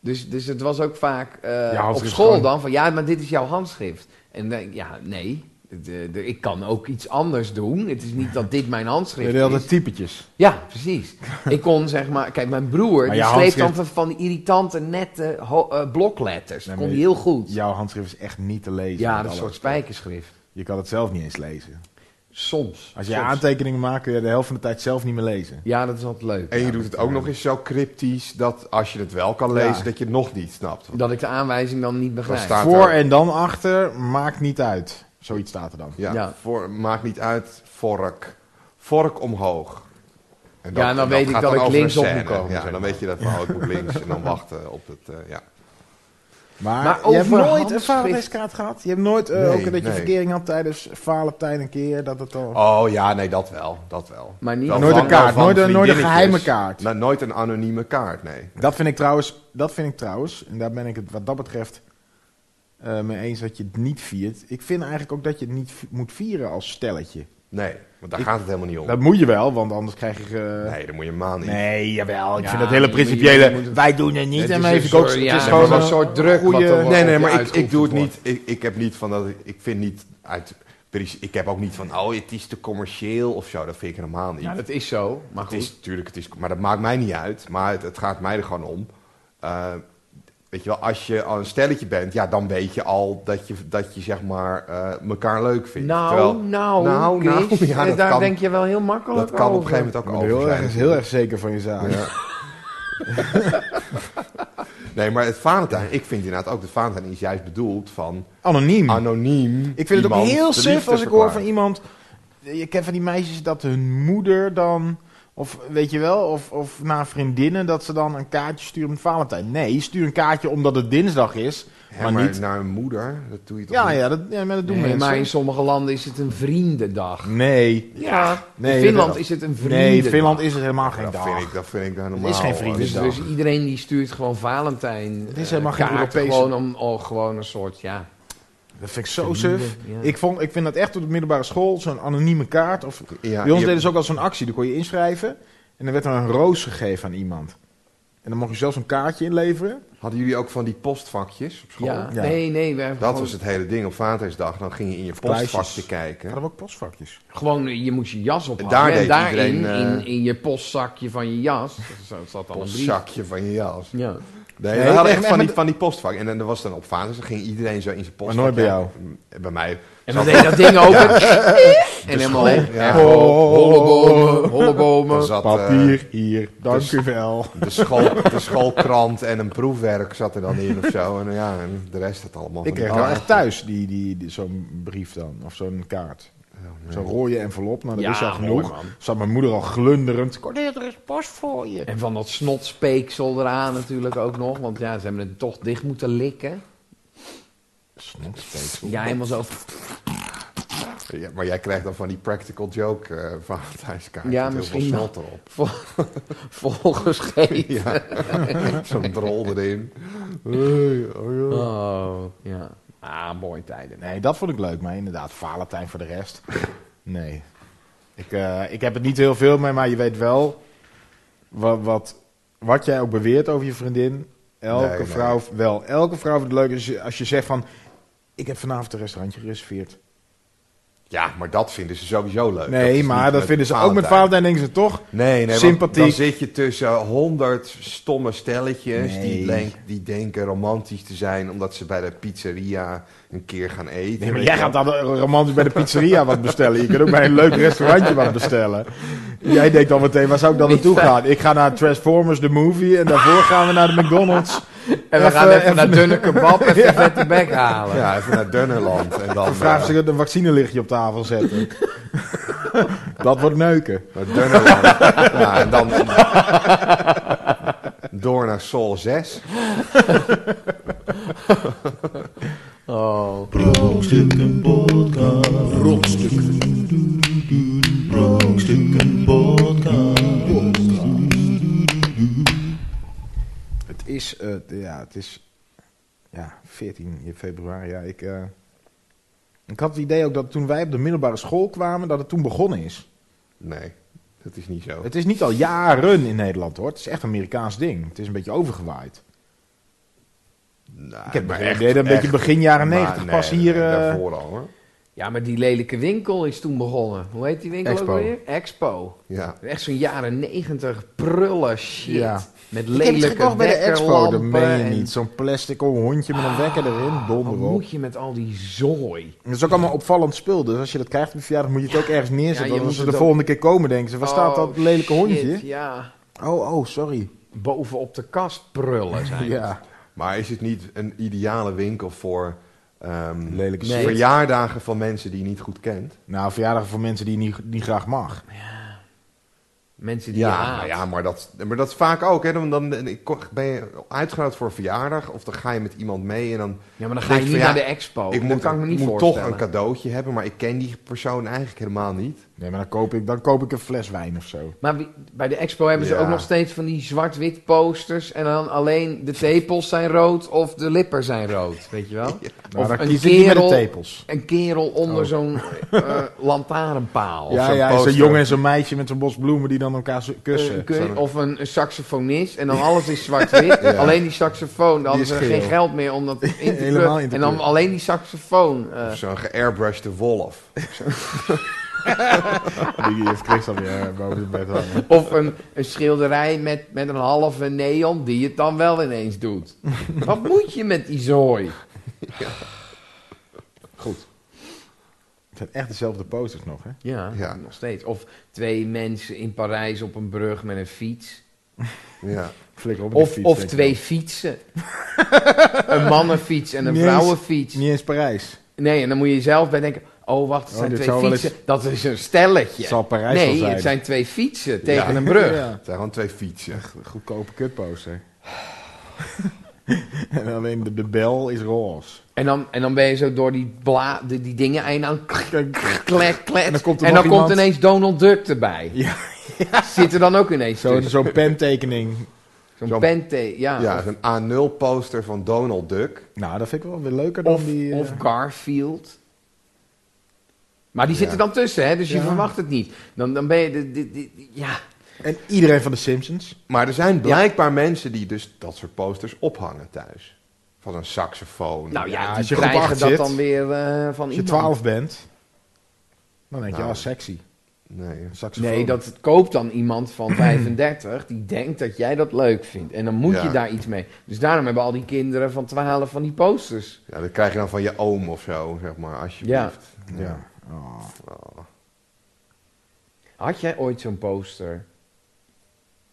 Speaker 4: Dus, dus het was ook vaak eh,
Speaker 3: Ja,
Speaker 4: op
Speaker 3: handschrift
Speaker 4: school
Speaker 3: gewoon-
Speaker 4: dan van ja, maar dit is jouw handschrift. En dan denk ik, ja, nee. de- de- ik kan ook iets anders doen. Het is niet dat dit mijn handschrift
Speaker 3: Jullie hadden
Speaker 4: is.
Speaker 3: typetjes.
Speaker 4: Ja, precies. Ik kon zeg maar... Kijk, mijn broer
Speaker 3: Maar
Speaker 4: die
Speaker 3: je
Speaker 4: schreef dan
Speaker 3: handschrift-
Speaker 4: van, van die irritante nette ho- eh, blokletters.
Speaker 3: Nee,
Speaker 4: kon
Speaker 3: maar
Speaker 4: hij heel goed. Ja,
Speaker 3: Jouw handschrift is echt niet te lezen. met
Speaker 4: dat is een
Speaker 3: alle
Speaker 4: soort spijkerschrift.
Speaker 3: respect. Je kan het zelf niet eens lezen.
Speaker 4: Soms.
Speaker 3: Als je
Speaker 4: Soms.
Speaker 3: aantekeningen maakt, kun je de helft van de tijd zelf niet meer lezen.
Speaker 4: Ja, dat is altijd leuk.
Speaker 2: En je doet het ook nog eens zo cryptisch dat als je het wel kan lezen,
Speaker 4: Ja.
Speaker 2: dat je het nog niet snapt.
Speaker 4: Dat ik de aanwijzing dan niet begrijp.
Speaker 2: staat- Later.
Speaker 3: Voor en dan achter, maakt niet uit. Zoiets staat er dan.
Speaker 2: Ja,
Speaker 4: Ja.
Speaker 2: Voor, maakt niet uit, vork. Vork omhoog. En
Speaker 4: Ja, en dan
Speaker 2: en
Speaker 4: weet ik
Speaker 2: gaat
Speaker 4: dat
Speaker 2: dan
Speaker 4: ik
Speaker 2: over een
Speaker 4: linksop moet
Speaker 2: scène.
Speaker 4: komen,
Speaker 2: Ja,
Speaker 4: zeg
Speaker 2: dan
Speaker 4: maar.
Speaker 2: weet je dat we ook moet links en dan wachten op het... eh, ja.
Speaker 3: Maar,
Speaker 4: Maar
Speaker 3: je hebt
Speaker 4: over
Speaker 3: nooit
Speaker 4: handschrift-
Speaker 3: een vaderreskaart gehad? Je hebt nooit eh,
Speaker 2: Nee,
Speaker 3: ook dat je
Speaker 2: nee.
Speaker 3: verkering had tijdens Valentijn een keer? Dat het al... Oh,
Speaker 2: Oh ja, nee, dat wel. Dat wel.
Speaker 4: Maar niet-
Speaker 2: Wel
Speaker 4: Nooit een
Speaker 2: van- wel
Speaker 3: kaart,
Speaker 2: van
Speaker 3: nooit een- nooit een geheime
Speaker 2: vriendinnetjes.
Speaker 3: kaart.
Speaker 2: Nou, nooit een anonieme kaart, nee.
Speaker 3: Dat vind ik trouwens, dat vind ik trouwens, en daar ben ik het wat dat betreft eh, mee eens dat je het niet viert. Ik vind eigenlijk ook dat je het niet vi- moet vieren als stelletje.
Speaker 2: Nee, want daar
Speaker 3: Ik-
Speaker 2: gaat het helemaal niet om.
Speaker 3: Dat moet je wel, want anders krijg je. eh,
Speaker 2: nee, dan moet je maal niet.
Speaker 3: nee, jawel. Oh, Ik
Speaker 4: Ja,
Speaker 3: vind dat
Speaker 4: je
Speaker 3: hele
Speaker 4: moet- je
Speaker 3: principiële.
Speaker 4: moet- je moet-
Speaker 3: wij doen het niet.
Speaker 4: Het
Speaker 3: en
Speaker 4: is
Speaker 3: maar
Speaker 4: een
Speaker 3: even ook-
Speaker 4: soort-
Speaker 3: het
Speaker 4: ja,
Speaker 3: is
Speaker 4: het
Speaker 3: gewoon
Speaker 4: is wel
Speaker 3: een soort druk.
Speaker 4: wat er wordt-
Speaker 2: Nee, nee,
Speaker 4: op je
Speaker 2: maar ik, ik
Speaker 4: uitgeoefend
Speaker 2: doe het
Speaker 4: wordt.
Speaker 2: niet. Ik, ik heb niet van dat. Ik vind niet uit. princi- Ik heb ook niet van. Oh, het is te commercieel of zo. Dat vind ik helemaal niet.
Speaker 4: Ja, dat is zo. Maar
Speaker 2: het
Speaker 4: goed.
Speaker 2: is natuurlijk. Het is, maar dat maakt mij niet uit. Maar het, het gaat mij er gewoon om. Eh, weet je wel, als je al een stelletje bent, ja, dan weet je al dat je, dat je zeg maar eh, elkaar leuk vindt.
Speaker 4: Nou,
Speaker 2: Terwijl-
Speaker 4: nou,
Speaker 2: nou,
Speaker 4: Chris,
Speaker 2: nou, ja,
Speaker 4: eh,
Speaker 2: dat
Speaker 4: daar
Speaker 2: kan-
Speaker 4: denk je wel heel makkelijk
Speaker 2: dat kan op een
Speaker 4: over.
Speaker 2: gegeven moment ook
Speaker 3: Je moet
Speaker 2: over
Speaker 3: heel
Speaker 2: zijn.
Speaker 3: erg, heel erg zeker van je zaak.
Speaker 2: Ja. nee, maar het Valentijn, ik vind inderdaad ook dat Valentijn is juist bedoeld van
Speaker 3: Anoniem.
Speaker 2: anoniem.
Speaker 3: ik vind het ook
Speaker 2: iemand
Speaker 3: heel
Speaker 2: de
Speaker 3: suf
Speaker 2: liefde
Speaker 3: als ik hoor van
Speaker 2: verklaren.
Speaker 3: iemand. Je kent van die meisjes dat hun moeder dan. Of weet je wel, of, of naar vriendinnen dat ze dan een kaartje sturen met Valentijn. Nee, stuur een kaartje omdat het dinsdag is.
Speaker 2: Hè,
Speaker 3: maar
Speaker 2: maar
Speaker 3: niet-
Speaker 2: naar een moeder, dat doe je toch
Speaker 3: Ja,
Speaker 2: niet?
Speaker 3: ja, dat, ja maar dat doen
Speaker 4: Nee,
Speaker 3: mensen.
Speaker 4: maar in sommige landen is het een vriendendag.
Speaker 3: Nee.
Speaker 4: Ja,
Speaker 3: Nee,
Speaker 4: in Finland
Speaker 3: dat-
Speaker 4: is het een vriendendag.
Speaker 3: Nee, Finland is het helemaal geen
Speaker 2: Dat
Speaker 3: dag.
Speaker 2: vind ik, dat vind ik dan normaal.
Speaker 3: is geen vriend.
Speaker 4: Dus,
Speaker 2: Dus-
Speaker 3: dag.
Speaker 4: dus iedereen die stuurt gewoon Valentijn.
Speaker 3: Het is
Speaker 4: eh,
Speaker 3: helemaal geen
Speaker 4: kaarten,
Speaker 3: Europese-
Speaker 4: Gewoon, om, oh, gewoon een soort, ja.
Speaker 3: Dat vind ik zo
Speaker 4: Vrienden,
Speaker 3: suf.
Speaker 4: ja.
Speaker 3: Ik, vond, ik vind dat echt op de middelbare school, zo'n anonieme kaart. Of,
Speaker 2: ja,
Speaker 3: bij ons
Speaker 2: je-
Speaker 3: deden ze ook al zo'n actie, daar kon je inschrijven. En dan werd er een roos gegeven aan iemand. En dan mocht je zelfs een kaartje inleveren.
Speaker 2: Hadden jullie ook van die postvakjes op school?
Speaker 4: ja.
Speaker 3: Ja.
Speaker 4: Nee, nee, we hebben
Speaker 2: Dat
Speaker 4: gewoon,
Speaker 2: was het hele ding op Vadersdag. Dan ging je in je
Speaker 3: Prijsjes.
Speaker 2: postvakje kijken.
Speaker 3: we ook postvakjes?
Speaker 4: gewoon, eh, je moest je jas ophangen.
Speaker 2: Daar
Speaker 4: en
Speaker 2: deed
Speaker 4: daarin,
Speaker 2: iedereen, eh,
Speaker 4: in, in je postzakje van je jas, zo zat al een brief.
Speaker 2: Postzakje van je jas.
Speaker 4: Ja.
Speaker 2: Nee,
Speaker 3: Nee,
Speaker 2: we hadden
Speaker 3: echt
Speaker 2: echt
Speaker 3: met-
Speaker 2: van die,
Speaker 3: met-
Speaker 2: van die postvak. En dan er was dan op Vadersdag ging iedereen zo in zijn postvak.
Speaker 3: nooit bij
Speaker 2: kijken. Mm, Bij mij.
Speaker 4: En dan deed dat ding open. En helemaal leeg.
Speaker 2: Ja.
Speaker 4: Echt op, Hollebomen, hollebomen.
Speaker 2: Dan zat, eh,
Speaker 3: Papier, hier, dank
Speaker 2: dus-
Speaker 3: u wel.
Speaker 2: De, school, de schoolkrant en een proefwerk zat er dan in of zo. En ja, en de rest had allemaal.
Speaker 3: Ik
Speaker 2: van die
Speaker 3: kreeg wel
Speaker 2: kaarten.
Speaker 3: echt thuis die, die, die- zo'n brief dan, of zo'n kaart.
Speaker 2: Oh, nee.
Speaker 3: Zo'n rode envelop, nou dat
Speaker 4: Ja,
Speaker 3: is al
Speaker 4: mooi,
Speaker 3: genoeg.
Speaker 4: man.
Speaker 3: Zat mijn moeder al glunderend.
Speaker 4: En van dat snotspeeksel eraan natuurlijk ook nog. Want ja, ze hebben het toch dicht moeten likken.
Speaker 3: Snotspeeksel.
Speaker 4: Ja, helemaal zo.
Speaker 2: Ja, maar jij krijgt dan van die practical joke eh Valentijnskaart.
Speaker 4: Ja,
Speaker 2: met heel veel
Speaker 4: misschien wel.
Speaker 2: snot erop.
Speaker 4: vol- volgeschreven.
Speaker 2: Ja, zo'n drol erin.
Speaker 4: Oh, ja. Ah, mooie tijden.
Speaker 3: Nee, dat vond ik leuk, maar inderdaad, Valentijn voor de rest. Nee. Ik, eh, ik heb het niet heel veel mee, maar je weet wel wat, wat, wat jij ook beweert over je vriendin. Elke
Speaker 2: Nee, nee.
Speaker 3: vrouw, wel, elke vrouw vindt het leuk als je, als je zegt van, ik heb vanavond een restaurantje gereserveerd.
Speaker 2: Ja, maar dat vinden ze sowieso leuk.
Speaker 3: nee,
Speaker 2: is
Speaker 3: maar
Speaker 2: niet
Speaker 3: dat
Speaker 2: met
Speaker 3: vinden ze ook met Valentijn, denken ze toch?
Speaker 2: Nee, nee, want
Speaker 3: Sympathiek.
Speaker 2: dan zit je tussen honderd stomme stelletjes die,
Speaker 3: Nee.
Speaker 2: denk, die denken romantisch te zijn omdat ze bij de pizzeria een keer gaan eten.
Speaker 3: Nee, maar
Speaker 2: Weet
Speaker 3: jij
Speaker 2: je wel.
Speaker 3: gaat dan romantisch bij de pizzeria wat bestellen. Je kunt ook bij een leuk restaurantje wat bestellen. Jij denkt dan meteen, waar zou ik dan naartoe gaan? Ik ga naar Transformers The Movie en daarvoor gaan we naar de McDonald's.
Speaker 4: En we gaan even, naar dunne kebab en even vette bek halen.
Speaker 2: Ja, even naar Dunnerland en dan...
Speaker 3: Vraag
Speaker 2: eh,
Speaker 3: ze een vaccinelichtje op tafel zetten. dat wordt neuken.
Speaker 2: Naar Dunnerland. ja, en dan... Door naar Sol 6.
Speaker 4: Oh.
Speaker 5: Brokstukken podcast. Brokstukken. Brokstukken podcast.
Speaker 3: Het is, eh, ja, het is ja, 14 februari. Ja, ik, eh, ik had het idee ook dat toen wij op de middelbare school kwamen, dat het toen begonnen is.
Speaker 2: Nee, dat is niet zo.
Speaker 3: Het is niet al jaren in Nederland hoor. Het is echt een Amerikaans ding. Het is een beetje overgewaaid.
Speaker 2: Nou,
Speaker 3: Ik heb
Speaker 2: maar
Speaker 3: het idee dat een beetje begin jaren
Speaker 2: Nou, maar
Speaker 3: 90 pas
Speaker 2: nee,
Speaker 3: hier.
Speaker 2: nee,
Speaker 3: eh,
Speaker 2: daarvoor al hoor.
Speaker 4: Ja, maar die lelijke winkel is toen begonnen. Hoe heet die winkel
Speaker 3: Expo.
Speaker 4: ook weer? Expo.
Speaker 2: Ja.
Speaker 4: Echt zo'n jaren negentig prullen shit.
Speaker 3: Ja.
Speaker 4: Met
Speaker 3: Ik heb het
Speaker 4: lelijke
Speaker 3: gekocht bij de expo, dat
Speaker 4: wekkerlampen.
Speaker 3: meen je
Speaker 4: en-
Speaker 3: niet. Zo'n plastic hondje met een wekker erin,
Speaker 4: Wat
Speaker 3: donder op.
Speaker 4: moet je met al die zooi?
Speaker 3: Het is ook allemaal opvallend spul, dus als je dat krijgt op je verjaardag moet je het ook ergens
Speaker 4: Ja, je
Speaker 3: neerzetten. want
Speaker 4: moet
Speaker 3: als ze
Speaker 4: het
Speaker 3: de
Speaker 4: ook-
Speaker 3: volgende keer komen denken ze, waar staat dat
Speaker 4: Oh,
Speaker 3: lelijke
Speaker 4: shit,
Speaker 3: hondje?
Speaker 4: ja.
Speaker 3: Oh, oh, sorry.
Speaker 4: Bovenop de kast prullen zijn.
Speaker 3: Ja.
Speaker 2: Maar is het niet een ideale winkel voor ehm,
Speaker 3: Lelijke
Speaker 4: Nee.
Speaker 3: shit.
Speaker 2: verjaardagen van mensen die je niet goed kent?
Speaker 3: Nou, verjaardag voor mensen die je niet, niet graag mag.
Speaker 4: Mensen die je
Speaker 2: Ja,
Speaker 4: haat.
Speaker 2: nou ja maar, dat, maar dat is vaak ook. Hè? Dan, dan ben je uitgenodigd voor een verjaardag of dan ga je met iemand mee en dan...
Speaker 3: Oh,
Speaker 4: Ja, maar dan ga
Speaker 2: Denk
Speaker 4: je
Speaker 2: van,
Speaker 4: niet
Speaker 2: ja,
Speaker 4: naar de expo.
Speaker 2: ik
Speaker 4: dat
Speaker 2: moet,
Speaker 4: kan ik me niet
Speaker 2: moet toch
Speaker 4: voorstellen.
Speaker 2: een cadeautje hebben, maar ik ken die persoon eigenlijk helemaal niet.
Speaker 3: Nee, maar dan koop ik, dan koop ik een fles wijn of zo. Nou,
Speaker 4: Maar wie- bij de expo hebben ze
Speaker 2: Ja.
Speaker 4: ook nog steeds van die zwart-wit posters. En dan alleen de tepels zijn rood of de lippen zijn rood. Weet je wel?
Speaker 3: Nou,
Speaker 4: Of
Speaker 3: dan
Speaker 4: een
Speaker 3: kies ik niet met de
Speaker 4: kerel.
Speaker 3: tepels.
Speaker 4: Een kerel onder
Speaker 3: Oh.
Speaker 4: zo'n eh, lantaarnpaal. Eh,
Speaker 3: Ja,
Speaker 2: zo'n
Speaker 3: ja, zo'n
Speaker 2: poster.
Speaker 3: jongen en zo'n meisje met zo'n bos bloemen die dan elkaar zo- kussen.
Speaker 4: Een kun-
Speaker 2: Zo'n-
Speaker 4: of een, een saxofonist. En dan alles is zwart-wit.
Speaker 2: Ja.
Speaker 4: Alleen die saxofoon. Dan hadden
Speaker 3: is
Speaker 4: ze
Speaker 3: geel.
Speaker 4: geen geld meer om dat in te
Speaker 3: Helemaal
Speaker 4: kleuren.
Speaker 3: in te
Speaker 4: En dan
Speaker 3: kleuren.
Speaker 4: alleen die saxofoon. eh.
Speaker 2: Of zo'n geairbrushed wolf.
Speaker 3: Die heeft Chris alweer eh, boven zijn bed hangen.
Speaker 4: Of een, een schilderij met, met een halve neon die het dan wel ineens doet. Wat moet je met die zooi?
Speaker 3: Goed. Het zijn echt dezelfde posters nog, hè?
Speaker 4: Ja,
Speaker 2: Ja.
Speaker 4: nog steeds. Of twee mensen in Parijs op een brug met een fiets.
Speaker 2: Ja.
Speaker 3: Flikker op met
Speaker 4: Of,
Speaker 3: die fiets,
Speaker 4: of
Speaker 3: denk ik
Speaker 4: twee
Speaker 3: wel.
Speaker 4: fietsen. een mannenfiets en een
Speaker 3: Niet eens-
Speaker 4: vrouwenfiets.
Speaker 3: Niet eens Parijs.
Speaker 4: Nee, en dan moet je zelf bij denken... Oh, wacht, het
Speaker 3: Oh,
Speaker 4: zijn
Speaker 3: dit
Speaker 4: twee
Speaker 3: zou wel eens-
Speaker 4: fietsen. Dat is een stelletje.
Speaker 3: Het zal Parijs wel
Speaker 4: nee,
Speaker 3: zijn.
Speaker 4: het zijn twee fietsen tegen een brug.
Speaker 3: Ja.
Speaker 2: Het zijn gewoon twee fietsen.
Speaker 3: Goedkope kutposter. en alleen de, de bel is roze.
Speaker 4: En, dan, en dan ben je zo door die, bla, die, die dingen heen aan...
Speaker 3: Kijk,
Speaker 4: klek, klek.
Speaker 3: En dan komt er
Speaker 4: en
Speaker 3: nog
Speaker 4: dan komt
Speaker 3: iemand.
Speaker 4: ineens Donald Duck erbij.
Speaker 3: Ja.
Speaker 4: Zit er dan ook ineens
Speaker 3: Zo'n
Speaker 4: tussen.
Speaker 3: zo'n pentekening.
Speaker 4: Zo'n
Speaker 2: zo'n-
Speaker 4: pente, ja.
Speaker 3: Ah.
Speaker 2: Ja,
Speaker 4: Of-
Speaker 2: zo'n A0 poster van Donald Duck.
Speaker 3: Nou, dat vind ik wel weer leuker dan
Speaker 4: of,
Speaker 3: die... eh,
Speaker 4: of Garfield. Maar die
Speaker 2: Ja.
Speaker 4: zitten dan tussen, hè? dus je
Speaker 3: Ja.
Speaker 4: verwacht het niet. Dan, dan ben je... De, de- de- de- ja.
Speaker 3: En iedereen van de Simpsons.
Speaker 2: Maar er zijn blijkbaar mensen die dus dat soort posters ophangen thuis. Van een saxofoon.
Speaker 4: Nou ja,
Speaker 3: Ja,
Speaker 4: die
Speaker 3: als je groep
Speaker 4: krijgen
Speaker 3: acht
Speaker 4: dat
Speaker 3: zit,
Speaker 4: dan weer eh, van
Speaker 3: Als je
Speaker 4: iemand.
Speaker 3: twaalf bent, dan denk je,
Speaker 2: Nou.
Speaker 3: ah, sexy.
Speaker 2: Nee.
Speaker 3: Een saxofoon.
Speaker 4: Nee, dat koopt dan iemand van 35 die denkt dat jij dat leuk vindt. En dan moet
Speaker 2: Ja.
Speaker 4: je daar iets mee. Dus daarom hebben al die kinderen van 12 van die posters.
Speaker 2: Ja, dat krijg je dan van je oom of zo, zeg maar, alsjeblieft.
Speaker 3: Ja. Oh.
Speaker 2: Oh.
Speaker 4: Had jij ooit zo'n poster?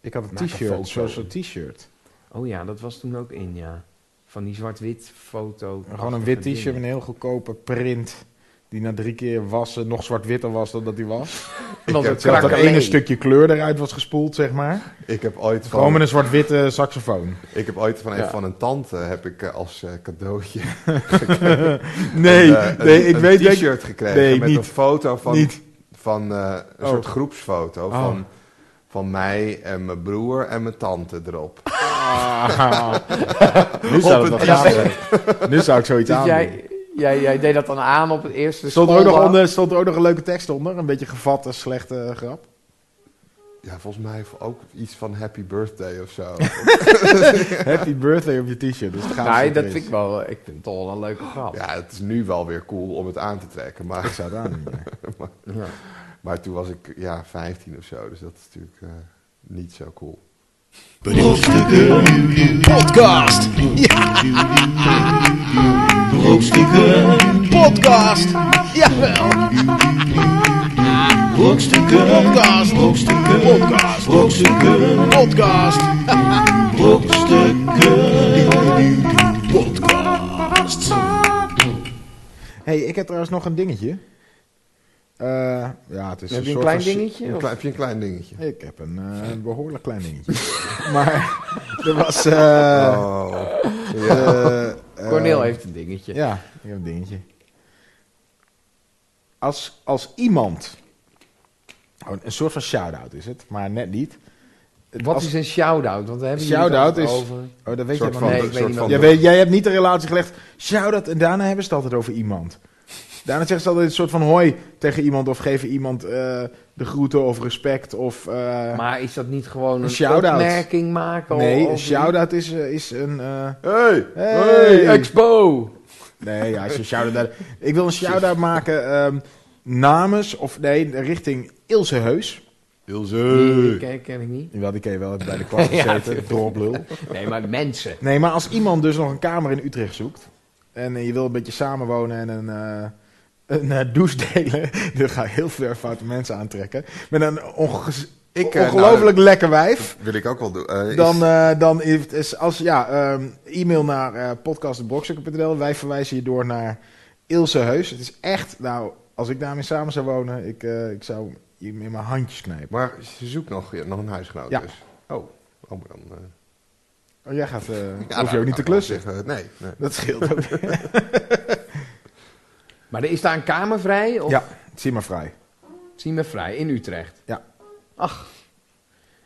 Speaker 3: Ik had een
Speaker 4: Maak een foto.
Speaker 3: t-shirt, zo'n zo'n t-shirt.
Speaker 4: Oh ja, dat was toen ook in, ja. Van die zwart-wit foto.
Speaker 3: Gewoon een wit t-shirt met een
Speaker 4: dingen.
Speaker 3: heel goedkope print. Die na drie keer wassen nog zwart-witter was dan dat hij was.
Speaker 4: Want
Speaker 2: heb
Speaker 4: het
Speaker 3: Zelfs dat
Speaker 4: krakelee.
Speaker 3: ene stukje kleur eruit was gespoeld, zeg maar.
Speaker 2: Ik heb ooit
Speaker 3: Gewoon met
Speaker 2: van,
Speaker 3: een zwart-witte saxofoon.
Speaker 2: ik heb ooit van, een-
Speaker 4: Ja.
Speaker 2: van een tante heb ik eh, als eh, cadeautje
Speaker 3: Nee,
Speaker 2: een, eh,
Speaker 3: nee
Speaker 2: een-
Speaker 3: ik
Speaker 2: een
Speaker 3: weet dat ik-
Speaker 2: t-shirt gekregen
Speaker 3: Nee,
Speaker 2: met
Speaker 3: niet.
Speaker 2: een foto van,
Speaker 3: niet.
Speaker 2: van eh, een
Speaker 3: Oh.
Speaker 2: soort groepsfoto
Speaker 3: Oh.
Speaker 2: van, van mij en mijn broer en mijn tante erop.
Speaker 3: Ah. nu zou het wel
Speaker 2: een
Speaker 3: gaaf zijn. Nu zou ik zoiets
Speaker 4: Dus
Speaker 3: aan
Speaker 4: jij, jij, jij deed dat dan aan op het eerste
Speaker 3: Stond er, ook nog
Speaker 4: schooldag?
Speaker 3: onder, stond er ook nog een leuke tekst onder? Een beetje gevatte, slechte eh, grap.
Speaker 2: Ja, volgens mij ook iets van happy birthday of zo.
Speaker 3: Happy birthday op je t-shirt. Dus
Speaker 4: Nee, dat vind ik wel... Ik vind het toch wel een leuke grap.
Speaker 2: ja, het is nu wel weer cool om het aan te trekken, maar...
Speaker 3: zou het aan doen, ja.
Speaker 4: Ja.
Speaker 2: Maar toen was ik ja, 15 of zo, dus dat is natuurlijk eh, niet zo cool.
Speaker 5: Brokstukken
Speaker 6: Podcast.
Speaker 5: brokstukken,
Speaker 6: Podcast. Jawel.
Speaker 5: brokstukken,
Speaker 6: Podcast.
Speaker 5: brokstukken,
Speaker 6: Podcast.
Speaker 5: brokstukken,
Speaker 6: Podcast.
Speaker 5: brokstukken, podcast.
Speaker 3: hey, ik heb trouwens nog een dingetje. Eh, ja, het is
Speaker 4: Heb je een
Speaker 3: soort
Speaker 4: klein
Speaker 3: van-
Speaker 4: dingetje?
Speaker 2: Een
Speaker 4: of-
Speaker 2: klein, heb je een klein dingetje?
Speaker 3: Ik heb een eh, een behoorlijk klein dingetje. maar er was... eh,
Speaker 2: Oh.
Speaker 3: eh, eh,
Speaker 4: Cornel heeft een dingetje.
Speaker 3: Ja, ik heb een dingetje. Als, als iemand... oh, een soort van shout-out is het, maar net niet.
Speaker 4: Wat
Speaker 3: Als-
Speaker 4: is een shout-out? Want daar hebben jullie het
Speaker 3: Shout-out
Speaker 4: altijd
Speaker 3: is-
Speaker 4: over.
Speaker 3: Oh, dat weet je
Speaker 2: soort
Speaker 3: nog
Speaker 2: van,
Speaker 3: niet.
Speaker 4: nee,
Speaker 2: de-
Speaker 4: ik weet
Speaker 2: soort
Speaker 4: niet
Speaker 2: van
Speaker 4: wat-
Speaker 3: Jij,
Speaker 2: de-
Speaker 3: weet, jij hebt niet de relatie gelegd. Shout-out. En daarna hebben ze het altijd over iemand. Daarna zeggen ze altijd een soort van hoi tegen iemand. Of geven iemand eh, de groeten of respect. Of, eh,
Speaker 4: Maar is dat niet gewoon een,
Speaker 3: shout-out.
Speaker 4: opmerking maken?
Speaker 3: nee,
Speaker 4: of-
Speaker 3: een shout-out is, eh, is een... eh,
Speaker 2: Hey!
Speaker 3: Hey!
Speaker 4: Expo!
Speaker 3: Nee, ja, als je een shout-out naar- Ik wil een shout-out maken ehm, namens, of nee, richting Ilse Heus.
Speaker 4: Die
Speaker 2: Ilse.
Speaker 4: ken, ken ik niet.
Speaker 3: Wel, die ken je wel, heb je bij de kwart
Speaker 4: Ja,
Speaker 3: gezeten, droplul.
Speaker 4: Nee, maar mensen.
Speaker 3: Nee, maar als iemand dus nog een kamer in Utrecht zoekt... en eh, je wil een beetje samenwonen en een, eh, een eh, douche delen... dan ga je heel veel foute mensen aantrekken. Met een onge-
Speaker 2: Ik, eh,
Speaker 3: ongelooflijk lekker wijf.
Speaker 2: Wil ik ook wel doen. Eh, is-
Speaker 3: Dan, eh, dan heeft, is als, ja, ehm, e-mail naar eh podcast.brokstukken.nl. Wij verwijzen je door naar Ilse Heus. Het is echt, nou, als ik daarmee samen zou wonen... ik, eh, ik zou hem in mijn handjes knijpen.
Speaker 2: Maar ze zoekt nog, ja, nog een huisgenoot
Speaker 3: Ja.
Speaker 2: dus. Oh, oh maar dan... eh,
Speaker 3: Oh, jij gaat, eh
Speaker 2: ja,
Speaker 3: hoef je
Speaker 2: nou,
Speaker 3: ook niet te
Speaker 2: nou,
Speaker 3: klussen.
Speaker 2: zeg, eh, nee, nee.
Speaker 3: Dat scheelt ook.
Speaker 4: Maar er is daar een kamer vrij? Of
Speaker 3: Ja, zie maar vrij.
Speaker 4: Zie me vrij, in Utrecht.
Speaker 3: Ja.
Speaker 4: Ach.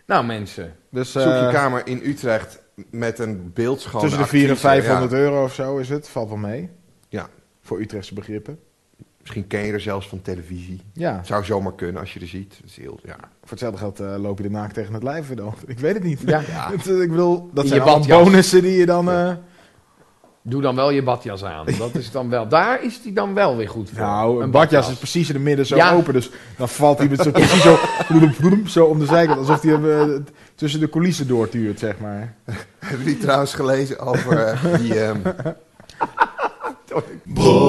Speaker 4: Nou, mensen.
Speaker 3: Dus,
Speaker 2: Zoek je
Speaker 3: eh,
Speaker 2: kamer in Utrecht met een beeldschone
Speaker 3: Tussen de 400 en
Speaker 2: actrice,
Speaker 3: 500
Speaker 2: ja.
Speaker 3: euro of zo is het. Valt wel mee.
Speaker 2: Ja.
Speaker 3: Voor Utrechtse begrippen.
Speaker 2: Misschien ken je er zelfs van televisie.
Speaker 3: Ja.
Speaker 2: Het zou zomaar kunnen als je er ziet. Dat is heel, ja.
Speaker 3: Voor hetzelfde geld eh, loop je de naak tegen het lijf weer dan. Ik weet het niet.
Speaker 4: Ja.
Speaker 3: Het, eh, ik bedoel, dat
Speaker 4: In
Speaker 3: zijn
Speaker 4: je
Speaker 3: allemaal
Speaker 4: badjas.
Speaker 3: bonussen die je dan... eh,
Speaker 4: Doe dan wel je badjas aan. Dat is dan wel, daar is die dan wel weer goed voor.
Speaker 3: nou, een badjas is precies in het midden zo
Speaker 4: Ja.
Speaker 3: open. Dus dan valt hij met zo precies zo, bloedem, bloedem, zo om de zijkant. Alsof hij hem eh, tussen de coulissen doortuurt, zeg maar.
Speaker 2: Hebben jullie trouwens gelezen over eh, die... ehm,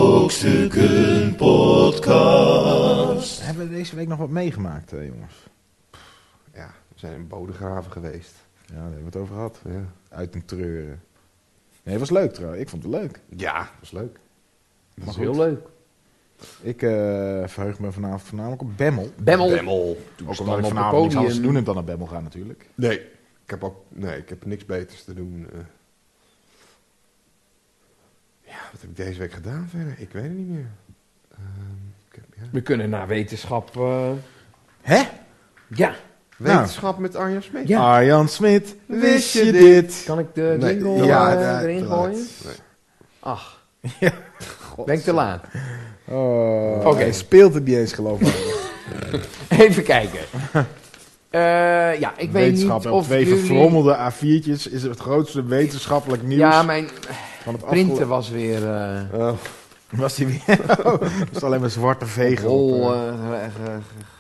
Speaker 5: Brokstukken Podcast.
Speaker 3: Hebben we deze week nog wat meegemaakt, eh, jongens?
Speaker 2: ja, we zijn in Bodegraven geweest.
Speaker 3: Ja, daar hebben we het over gehad.
Speaker 2: Ja,
Speaker 3: Uit een treuren. Nee, het was leuk trouwens. Ik vond het leuk.
Speaker 2: ja dat was leuk.
Speaker 4: Dat
Speaker 3: Maar
Speaker 4: is
Speaker 3: goed.
Speaker 4: heel leuk.
Speaker 3: Ik eh, verheug me vanavond voornamelijk op Bemmel.
Speaker 4: Bemmel.
Speaker 2: Bemmel.
Speaker 3: Ook omdat ik
Speaker 4: staan op het
Speaker 3: vanavond niets anders te doen heb
Speaker 4: podium.
Speaker 3: dan naar Bemmel gaan natuurlijk.
Speaker 2: Nee. Ik heb ook... Nee, ik heb niks beters te doen. eh. Ja, wat heb ik deze week gedaan verder? Ik weet het niet meer. Ehm, ik heb, ja.
Speaker 4: We kunnen naar wetenschap. eh,
Speaker 3: Hè?
Speaker 4: ja.
Speaker 2: Wetenschap met Arjan Smit.
Speaker 4: Ja.
Speaker 3: Arjan Smit, wist je dit?
Speaker 4: Kan ik de
Speaker 2: Nee,
Speaker 4: jingle
Speaker 2: te
Speaker 4: eh,
Speaker 2: laat. Ja,
Speaker 4: erin
Speaker 2: te laat.
Speaker 4: gooien?
Speaker 2: Nee.
Speaker 4: Ach. Ben ik te laat?
Speaker 3: Oh, Oké,
Speaker 4: Oké.
Speaker 3: speelt het niet eens geloof ik.
Speaker 4: Even kijken. Eh, ja, ik weet niet
Speaker 3: Wetenschap op
Speaker 4: of
Speaker 3: twee
Speaker 4: jullie...
Speaker 3: verfrommelde A4'tjes is het grootste wetenschappelijk nieuws
Speaker 4: Ja, mijn
Speaker 3: van het
Speaker 4: printer
Speaker 3: afgelopen...
Speaker 4: was weer eh
Speaker 2: Oh,
Speaker 3: Was die weer? Oh, er is alleen maar zwarte vegen op,
Speaker 4: hol
Speaker 3: eh.
Speaker 4: eh, ge- ge-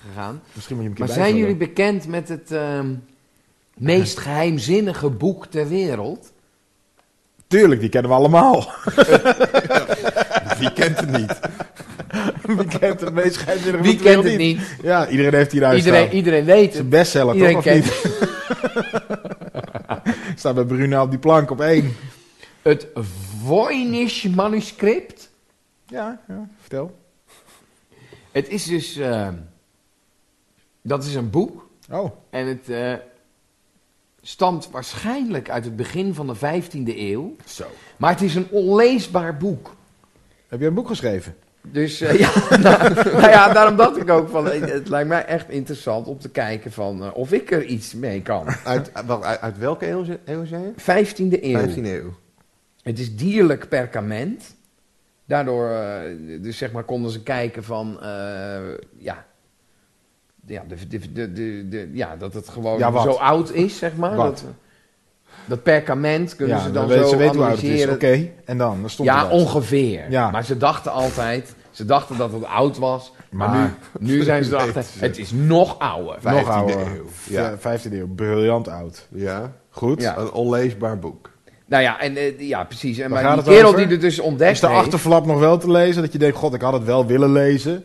Speaker 4: gegaan.
Speaker 3: Misschien moet je hem een keer
Speaker 4: Maar zijn
Speaker 3: bijvullen.
Speaker 4: jullie bekend met het ehm, meest geheimzinnige boek ter wereld?
Speaker 3: Tuurlijk, die kennen we allemaal.
Speaker 2: wie kent het niet?
Speaker 3: Wie kent het meest geheimzinnige
Speaker 4: Wie
Speaker 3: van de wereld
Speaker 4: kent het niet?
Speaker 3: Ja, iedereen heeft hier huis
Speaker 4: Iedereen,
Speaker 3: staan.
Speaker 4: iedereen weet
Speaker 3: Het is
Speaker 4: het.
Speaker 3: een bestseller,
Speaker 4: Iedereen
Speaker 3: toch? Of
Speaker 4: kent
Speaker 3: niet? Staat bij Bruna op die plank op één.
Speaker 4: het Voynich manuscript.
Speaker 3: Ja, ja vertel.
Speaker 4: Het is dus... ehm, dat is een boek.
Speaker 3: Oh,
Speaker 4: En het eh, stamt waarschijnlijk uit het begin van de 15e eeuw.
Speaker 3: zo.
Speaker 4: Maar het is een onleesbaar boek.
Speaker 3: Heb je een boek geschreven?
Speaker 4: Dus eh, ja, nou, nou ja, daarom dacht ik ook van, eh, het lijkt mij echt interessant om te kijken van eh, of ik er iets mee kan.
Speaker 2: Uit, eh, wel, uit, uit welke eeuw, ze- eeuw zijn je?
Speaker 4: 15e eeuw.
Speaker 2: 15e eeuw.
Speaker 4: Het is dierlijk perkament. Daardoor, eh, dus zeg maar, konden ze kijken van, eh, ja, ja, de, de, de, de, de- ja, dat het gewoon
Speaker 3: Ja, wat?
Speaker 4: zo oud is, zeg maar.
Speaker 3: Wat?
Speaker 4: Dat, dat perkament kunnen ze dan
Speaker 3: we-
Speaker 4: zo
Speaker 3: ze weten hoe oud het is. Oké,
Speaker 4: analyseren.
Speaker 3: en dan? dan stond
Speaker 4: Ja,
Speaker 3: er dat.
Speaker 4: ongeveer.
Speaker 3: Ja.
Speaker 4: Maar ze dachten altijd, ze dachten dat het oud was. Maar,
Speaker 3: Maar-
Speaker 4: nu, nu zijn ze erachter,
Speaker 2: Weten ze.
Speaker 4: het is nog ouder.
Speaker 3: Nog
Speaker 2: 15e
Speaker 3: ouder.
Speaker 2: eeuw.
Speaker 3: Ja, 15e eeuw. Briljant oud.
Speaker 2: Ja.
Speaker 3: Goed.
Speaker 4: Ja.
Speaker 2: Een onleesbaar boek.
Speaker 4: Nou ja, en, eh, ja precies.
Speaker 3: Waar
Speaker 4: En, maar die
Speaker 3: gaat het
Speaker 4: kerel
Speaker 3: over?
Speaker 4: die er dus
Speaker 3: Is
Speaker 4: ontdekt
Speaker 3: de
Speaker 4: heeft,
Speaker 3: achterflap nog wel te lezen? Dat je denkt, god, ik had het wel willen lezen.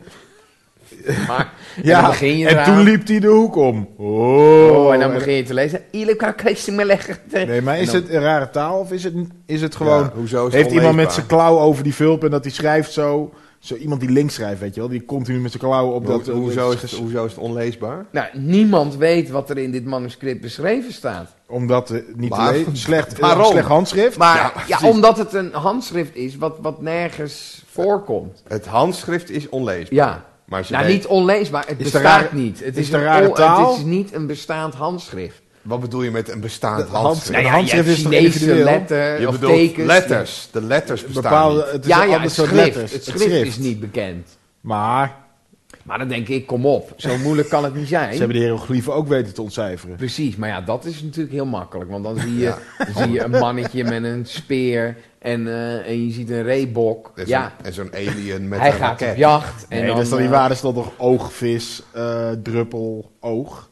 Speaker 4: maar, en dan begin je
Speaker 3: en
Speaker 4: eraan.
Speaker 3: toen liep hij de hoek om. Oh,
Speaker 4: Oh, en dan begin je te lezen. Ile kan Christen me leggen.
Speaker 3: Nee, maar is
Speaker 4: En dan-
Speaker 3: het een rare taal of is het, is het gewoon...
Speaker 2: Ja, hoezo is het
Speaker 3: heeft iemand met
Speaker 2: onleesbaar?
Speaker 3: zijn klauw over die vulp en dat hij schrijft zo... Zo iemand die links schrijft, weet je wel. Die continu met zijn klauw op
Speaker 2: Hoe-
Speaker 4: eh,
Speaker 3: dat... eh,
Speaker 2: hoezo, is het, hoezo is het onleesbaar?
Speaker 4: Nou, niemand weet wat er in dit manuscript beschreven staat.
Speaker 3: Omdat het eh, niet
Speaker 2: Maar-
Speaker 3: te lezen... Slecht,
Speaker 2: Waarom?
Speaker 3: slecht handschrift.
Speaker 4: Maar
Speaker 2: Ja,
Speaker 4: ja,
Speaker 2: precies.
Speaker 4: omdat het een handschrift is wat, wat nergens voorkomt.
Speaker 2: Het handschrift is onleesbaar.
Speaker 4: Ja.
Speaker 2: Maar ze
Speaker 4: Nou,
Speaker 2: weet-
Speaker 4: niet onleesbaar. Het
Speaker 3: Is het een
Speaker 4: bestaat
Speaker 3: rare-
Speaker 4: niet. Het
Speaker 3: is
Speaker 4: is,
Speaker 3: het een
Speaker 4: een
Speaker 3: rare
Speaker 4: on-
Speaker 3: taal?
Speaker 4: Het is niet een bestaand handschrift.
Speaker 2: Wat bedoel je met een bestaand
Speaker 3: De
Speaker 2: handschrift?
Speaker 3: Een
Speaker 4: Nou ja,
Speaker 3: handschrift
Speaker 4: je
Speaker 3: is
Speaker 4: hebt
Speaker 3: toch
Speaker 4: Chinese
Speaker 3: individueel?
Speaker 4: letters
Speaker 2: je
Speaker 4: of
Speaker 2: bedoelt
Speaker 4: tekens.
Speaker 2: letters. De letters bestaan
Speaker 3: Bepaalde,
Speaker 2: niet.
Speaker 3: het is
Speaker 4: ja,
Speaker 3: een
Speaker 4: ja,
Speaker 3: ander
Speaker 4: het
Speaker 3: soort
Speaker 4: schrift,
Speaker 3: letters.
Speaker 4: het schrift is niet bekend.
Speaker 3: Maar...
Speaker 4: Maar dan denk ik, kom op, zo moeilijk kan het niet zijn.
Speaker 3: Ze hebben de hieroglyphen ook weten te ontcijferen.
Speaker 4: Precies, maar ja, dat is natuurlijk heel makkelijk. Want dan zie je,
Speaker 2: Ja.
Speaker 4: dan zie je een mannetje met een speer en, eh, en je ziet een reebok.
Speaker 2: En zo'n-
Speaker 4: Ja,
Speaker 2: En zo'n alien met
Speaker 4: hij
Speaker 2: een
Speaker 4: gaat op
Speaker 2: raket.
Speaker 4: jacht. En
Speaker 3: nee,
Speaker 4: dan,
Speaker 3: dat is dan niet
Speaker 4: eh,
Speaker 3: waar. Dat is dan toch oogvis, eh, druppel, oog.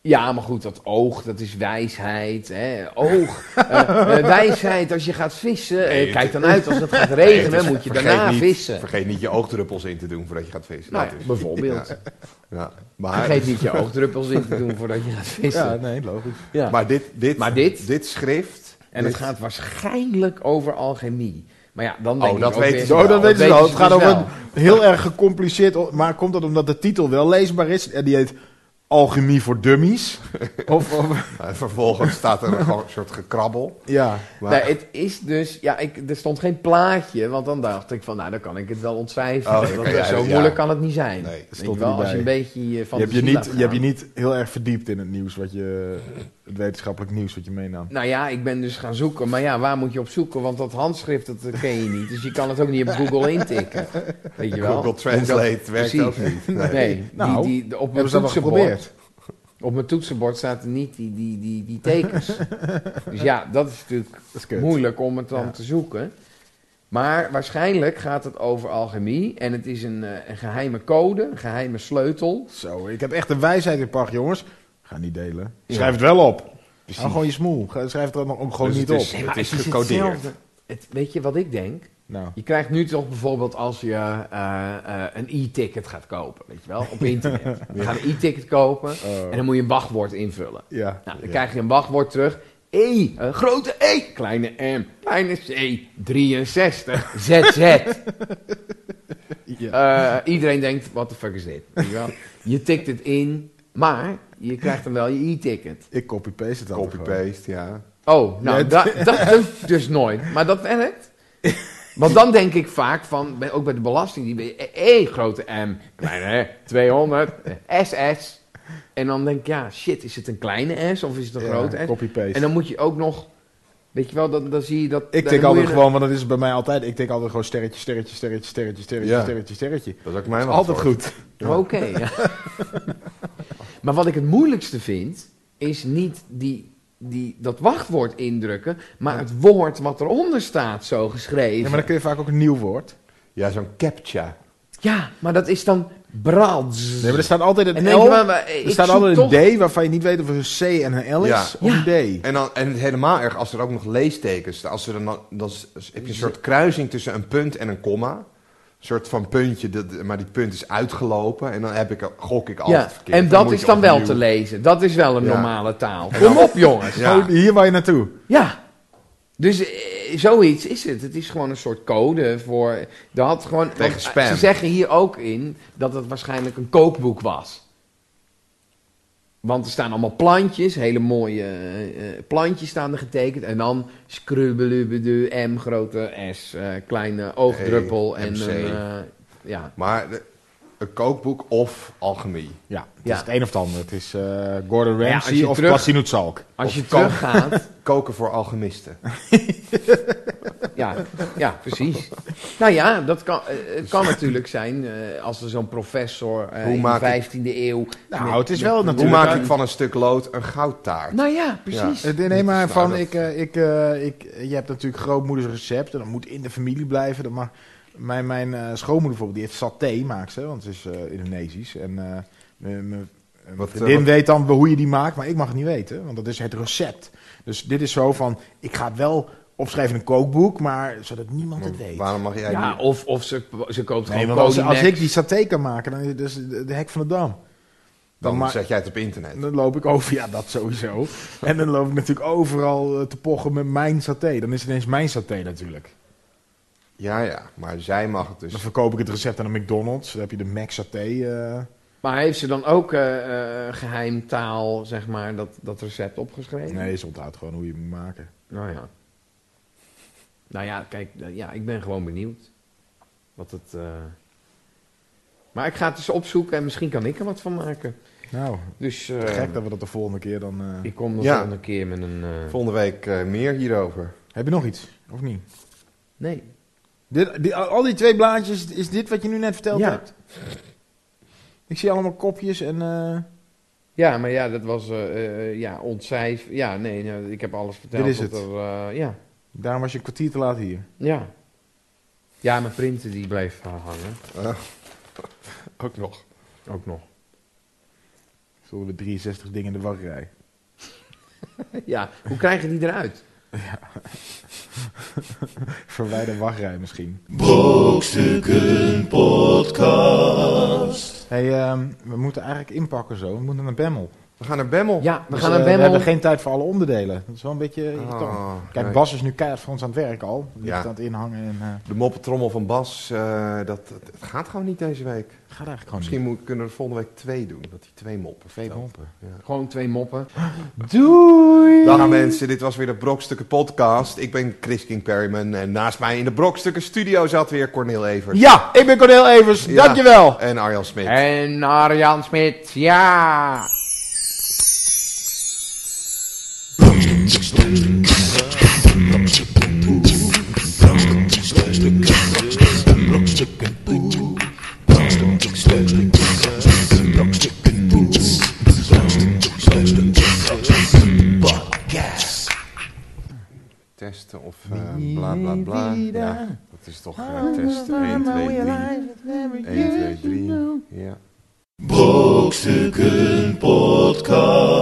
Speaker 4: Ja, maar goed, dat oog, dat is wijsheid. Hè? Oog, eh, eh, wijsheid als je gaat vissen. eh,
Speaker 2: Nee,
Speaker 4: kijk
Speaker 2: het-
Speaker 4: dan uit als het gaat
Speaker 2: Nee, het
Speaker 4: regenen,
Speaker 2: is-
Speaker 4: moet je
Speaker 2: vergeet
Speaker 4: daarna
Speaker 2: niet-
Speaker 4: vissen.
Speaker 2: Vergeet niet je oogdruppels in te doen voordat je gaat vissen.
Speaker 4: Nou,
Speaker 2: Dat is-
Speaker 4: bijvoorbeeld.
Speaker 2: Ja, ja. Maar,
Speaker 4: Vergeet niet je oogdruppels in te doen voordat je gaat vissen.
Speaker 3: Ja, nee, logisch.
Speaker 4: Ja.
Speaker 2: maar, dit, dit,
Speaker 4: Maar dit-
Speaker 2: schrift...
Speaker 4: en
Speaker 2: dit-
Speaker 4: het gaat waarschijnlijk over alchemie. Maar ja, dan
Speaker 2: Oh,
Speaker 4: denk ik
Speaker 2: dat
Speaker 4: ook
Speaker 2: weten ze
Speaker 4: weer-
Speaker 3: Zo,
Speaker 2: wel.
Speaker 3: dan
Speaker 2: dat
Speaker 3: weten ze wel. Het gaat
Speaker 4: dus
Speaker 3: over
Speaker 4: wel.
Speaker 3: een heel erg gecompliceerd... o- Maar komt dat omdat de titel wel leesbaar is? En die heet Alchemie voor Dummies? of, of-
Speaker 2: eh, vervolgens staat er gewoon een soort
Speaker 4: Oh,
Speaker 2: gekrabbel.
Speaker 3: ja.
Speaker 2: Maar,
Speaker 4: Nee, Nou, het is dus, ja, ik, er stond geen plaatje, want dan dacht ik van, nou, dan kan ik het wel ontcijferen.
Speaker 2: Oh, oké,
Speaker 4: want
Speaker 2: ja,
Speaker 4: zo
Speaker 2: ja.
Speaker 4: moeilijk kan het niet zijn.
Speaker 2: Nee,
Speaker 4: Weet
Speaker 3: stond
Speaker 4: je
Speaker 3: er
Speaker 4: wel,
Speaker 3: niet
Speaker 4: als je
Speaker 3: bij.
Speaker 4: een beetje eh,
Speaker 3: Je
Speaker 4: van
Speaker 3: hebt je, niet, je hebt je niet heel erg verdiept in het nieuws wat je... Het wetenschappelijk nieuws wat je meenam.
Speaker 4: Nou ja, ik ben dus gaan zoeken, maar ja, waar moet je op zoeken? Want dat handschrift, dat eh, ken je niet, dus je kan het ook niet op Google intikken. Weet je wel?
Speaker 2: Google Translate
Speaker 4: Dat-
Speaker 2: werkt
Speaker 4: precies.
Speaker 2: ook niet. Nee.
Speaker 4: Nee, die-
Speaker 3: Nou,
Speaker 4: die, op mijn
Speaker 3: Hebben ze dat wel
Speaker 4: toetsenbord
Speaker 3: geprobeerd?
Speaker 4: Op mijn toetsenbord staat er niet die, die, die, die tekens. dus ja, dat is natuurlijk
Speaker 3: Dat is kut.
Speaker 4: moeilijk om het dan
Speaker 3: Ja.
Speaker 4: te zoeken. Maar waarschijnlijk gaat het over alchemie. En het is een, eh, een geheime code, een geheime sleutel.
Speaker 3: Zo, ik heb echt een wijsheid in pacht, jongens. Ga niet delen.
Speaker 4: Ja.
Speaker 3: Schrijf het wel op.
Speaker 4: Precies.
Speaker 3: Hou gewoon je smoel. Ga- Schrijf het dan ook gewoon
Speaker 2: Dus
Speaker 3: niet
Speaker 2: het is-
Speaker 3: op.
Speaker 2: Nee, maar het is
Speaker 4: is
Speaker 2: gecodeerd.
Speaker 4: hetzelfde. Het, weet je wat ik denk?
Speaker 3: Nou,
Speaker 4: Je krijgt nu toch bijvoorbeeld als je eh, eh, een e-ticket gaat kopen, weet je wel, op internet. Je gaat een e-ticket kopen
Speaker 2: Oh.
Speaker 3: eh,
Speaker 4: en dan moet je een wachtwoord invullen.
Speaker 3: ja.
Speaker 4: Nou, dan krijg je een wachtwoord terug. E, een grote E, kleine M, kleine C, 63, ZZ.
Speaker 3: Ja.
Speaker 4: Eh, iedereen denkt, what the fuck is dit? Weet je wel? Je tikt het in, maar je krijgt dan wel je e-ticket.
Speaker 3: Ik copy-paste het altijd gewoon.
Speaker 2: Copy-paste, ja.
Speaker 4: Oh, nou,
Speaker 3: Ja,
Speaker 4: da- dat lukt dus nooit. Maar dat werkt. Want dan denk ik vaak van, bij- ook bij de belasting, die ben je, E, E, grote M, kleine R, 200, eh, SS. En dan denk ik, ja, shit, is het een kleine S of is het een
Speaker 3: Ja,
Speaker 4: grote S?
Speaker 3: Copy-paste.
Speaker 4: En dan moet je ook nog, weet je wel, dan, dan zie je dat...
Speaker 3: Ik
Speaker 4: dan
Speaker 3: tik
Speaker 4: moet
Speaker 3: altijd
Speaker 4: je-
Speaker 3: gewoon, want dat is bij mij altijd. Ik tik altijd gewoon sterretje, sterretje, sterretje, sterretje, sterretje,
Speaker 2: Ja.
Speaker 3: sterretje, sterretje.
Speaker 2: Dat is ook mijn
Speaker 3: Dat is altijd
Speaker 2: antwoord.
Speaker 3: goed.
Speaker 4: Oké. ja. maar wat ik het moeilijkste vind, is niet die, die, dat wachtwoord indrukken, maar het woord wat eronder staat zo geschreven.
Speaker 3: Ja, maar dan kun je vaak ook een nieuw woord.
Speaker 2: Ja, zo'n captcha.
Speaker 4: Ja, maar dat is dan brads.
Speaker 3: Nee, maar er staat altijd
Speaker 4: en
Speaker 3: een
Speaker 4: denk
Speaker 3: L.
Speaker 4: je, maar, maar, ik
Speaker 3: Er staat
Speaker 4: zoek
Speaker 3: altijd
Speaker 4: toch-
Speaker 3: een D waarvan je niet weet of het een C en een L is.
Speaker 2: Ja.
Speaker 3: Of
Speaker 4: Ja.
Speaker 3: een D.
Speaker 2: En, dan, en het helemaal erg als er ook nog leestekens staan. Als er dan, dan is- heb je een soort kruising tussen een punt en een komma. Een soort van puntje, dat- maar die punt is uitgelopen. En dan heb ik, gok ik altijd
Speaker 4: Ja,
Speaker 2: verkeerd.
Speaker 4: en
Speaker 2: Dan
Speaker 4: dat
Speaker 2: moet
Speaker 4: is
Speaker 2: je
Speaker 4: dan wel
Speaker 2: opnieuw-
Speaker 4: te lezen. Dat is wel een
Speaker 2: Ja.
Speaker 4: normale taal. Kom op, jongens.
Speaker 2: Ja.
Speaker 3: Oh, hier waar je naartoe.
Speaker 4: Ja. Dus eh, zoiets is het. Het is gewoon een soort code voor. Er had gewoon,
Speaker 2: Tegen
Speaker 4: want, eh,
Speaker 2: spam.
Speaker 4: Ze zeggen hier ook in dat het waarschijnlijk een kookboek was. Want er staan allemaal plantjes, hele mooie eh, eh, plantjes staan er getekend. En dan scrubbelubedu, M grote S, eh, kleine oogdruppel
Speaker 2: E,
Speaker 4: en
Speaker 2: MC.
Speaker 4: een, eh, ja.
Speaker 2: Maar de- een kookboek of alchemie.
Speaker 3: Ja, het
Speaker 4: Ja.
Speaker 3: is het een of het ander. Het is eh, Gordon
Speaker 4: ja,
Speaker 3: Ramsay
Speaker 4: als je
Speaker 3: of
Speaker 4: terug-
Speaker 3: Plastinut Salk.
Speaker 4: Als
Speaker 2: Of
Speaker 4: je
Speaker 2: kook.
Speaker 4: teruggaat,
Speaker 2: Koken voor alchemisten.
Speaker 4: ja, ja, precies. Nou ja, dat kan, eh, het kan natuurlijk zijn eh, als er zo'n professor eh,
Speaker 2: Hoe
Speaker 4: in
Speaker 2: maak
Speaker 4: de
Speaker 2: ik-
Speaker 4: 15e eeuw...
Speaker 3: Nou,
Speaker 4: met-
Speaker 3: het is
Speaker 4: met-
Speaker 3: wel
Speaker 2: Hoe
Speaker 3: natuurlijk...
Speaker 2: maak ik van een stuk lood een goudtaart?
Speaker 4: Nou ja, precies.
Speaker 3: Eh, Nee, maar
Speaker 2: is waar,
Speaker 3: van,
Speaker 2: dat-
Speaker 3: ik, eh, ik, eh, ik, je hebt natuurlijk grootmoeders recept en dat moet in de familie blijven. Dat mag, mijn mijn eh, schoonmoeder bijvoorbeeld, die heeft saté maakt ze, want ze is eh, Indonesisch. En eh mijn- mijn
Speaker 2: Wat,
Speaker 3: wat,
Speaker 2: eh,
Speaker 3: vriendin
Speaker 2: wat-
Speaker 3: weet dan hoe je die maakt, maar ik mag het niet weten, want dat is het recept. Dus dit is zo van, ik ga het wel opschrijven in een kookboek, maar zodat niemand het weet.
Speaker 2: Waarom mag jij
Speaker 4: Ja,
Speaker 2: niet?
Speaker 4: of, of ze, ze koopt
Speaker 3: Nee,
Speaker 4: gewoon
Speaker 3: want als, als
Speaker 4: Kodimax.
Speaker 3: ik die saté kan maken, dan is het dus de, de hek van de dam.
Speaker 2: Dan
Speaker 3: maar-
Speaker 2: zet jij het op internet.
Speaker 4: Nou-
Speaker 3: En dan loop ik over, ja, dat sowieso. En dan loop ik natuurlijk overal eh, te pochen met mijn saté. Dan is het ineens mijn saté natuurlijk.
Speaker 2: Ja, ja. Maar zij mag het dus.
Speaker 3: Dan verkoop ik het recept aan de McDonald's. Dan heb je de Mac saté. eh.
Speaker 4: Maar heeft ze dan ook eh, eh, geheimtaal, zeg maar, dat, dat recept opgeschreven?
Speaker 3: Nee, ze onthoudt gewoon hoe je het moet maken.
Speaker 4: Nou ja. Nou ja, kijk, eh, ja, ik ben gewoon benieuwd. Wat het... eh, Maar ik ga het eens opzoeken en misschien kan ik er wat van maken.
Speaker 3: Nou,
Speaker 4: Dus eh,
Speaker 3: gek dat we dat de volgende keer dan... eh,
Speaker 4: ik kom de
Speaker 2: Ja.
Speaker 4: volgende keer met een... eh,
Speaker 2: Volgende week eh, meer hierover.
Speaker 3: Heb je nog iets? Of niet?
Speaker 4: Nee.
Speaker 3: Dit, dit- al die twee blaadjes, is dit wat je nu net verteld
Speaker 4: Ja.
Speaker 3: hebt? Ik zie allemaal kopjes en... eh,
Speaker 4: Ja, maar ja, dat was eh, eh, ja, ontcijf. Ja, nee, nou, ik heb alles verteld.
Speaker 3: Dit is
Speaker 4: wat
Speaker 3: het.
Speaker 4: er, eh, ja,
Speaker 3: daarom was je een kwartier te laat hier.
Speaker 4: ja. Ja, mijn printer die bleef eh, hangen.
Speaker 2: Ook nog.
Speaker 4: Ook nog.
Speaker 3: Zullen we 63 dingen in de wachtrij.
Speaker 4: ja, hoe krijg je die eruit?
Speaker 3: Verwijder wachtrij misschien.
Speaker 5: Brokstukken Podcast.
Speaker 3: Hey, ehm, we moeten eigenlijk inpakken zo. We moeten naar Bemmel.
Speaker 2: We gaan naar Bemmel.
Speaker 4: Ja, we
Speaker 3: Dus,
Speaker 4: gaan
Speaker 3: eh,
Speaker 4: naar
Speaker 3: We
Speaker 4: Bemmel. Ah,
Speaker 3: hebben geen tijd voor alle onderdelen. Dat is wel een beetje irritant.
Speaker 2: Oh,
Speaker 3: Ah, Kijk,
Speaker 2: nee.
Speaker 3: Bas is nu keihard voor ons aan het werk al. Die
Speaker 2: Ja.
Speaker 3: is aan het inhangen en eh,
Speaker 2: De moppetrommel van Bas, eh, dat, dat, het gaat gewoon niet deze week.
Speaker 3: gaat eigenlijk gewoon
Speaker 2: Misschien moet, kunnen we er volgende week twee doen, dat hij twee moppen
Speaker 3: niet.
Speaker 2: vertelt.
Speaker 3: Pompen.
Speaker 4: Gewoon twee moppen. Doei!
Speaker 2: Dag mensen, dit was weer de Brokstukken podcast. Ik ben Chris King Perryman en naast mij in de Brokstukken studio zat weer Cornel Evers.
Speaker 3: Ja, ik ben Cornel Evers.
Speaker 2: Ja.
Speaker 3: Dankjewel.
Speaker 2: En Arjan Smit.
Speaker 4: En Arjan Smit, ja!
Speaker 2: Testen of eh, bla bla bla. Ja, dat is toch eh, testen. 1, 2, 3. 1, 2, 3. Ja.
Speaker 5: Brokstukken Podcast.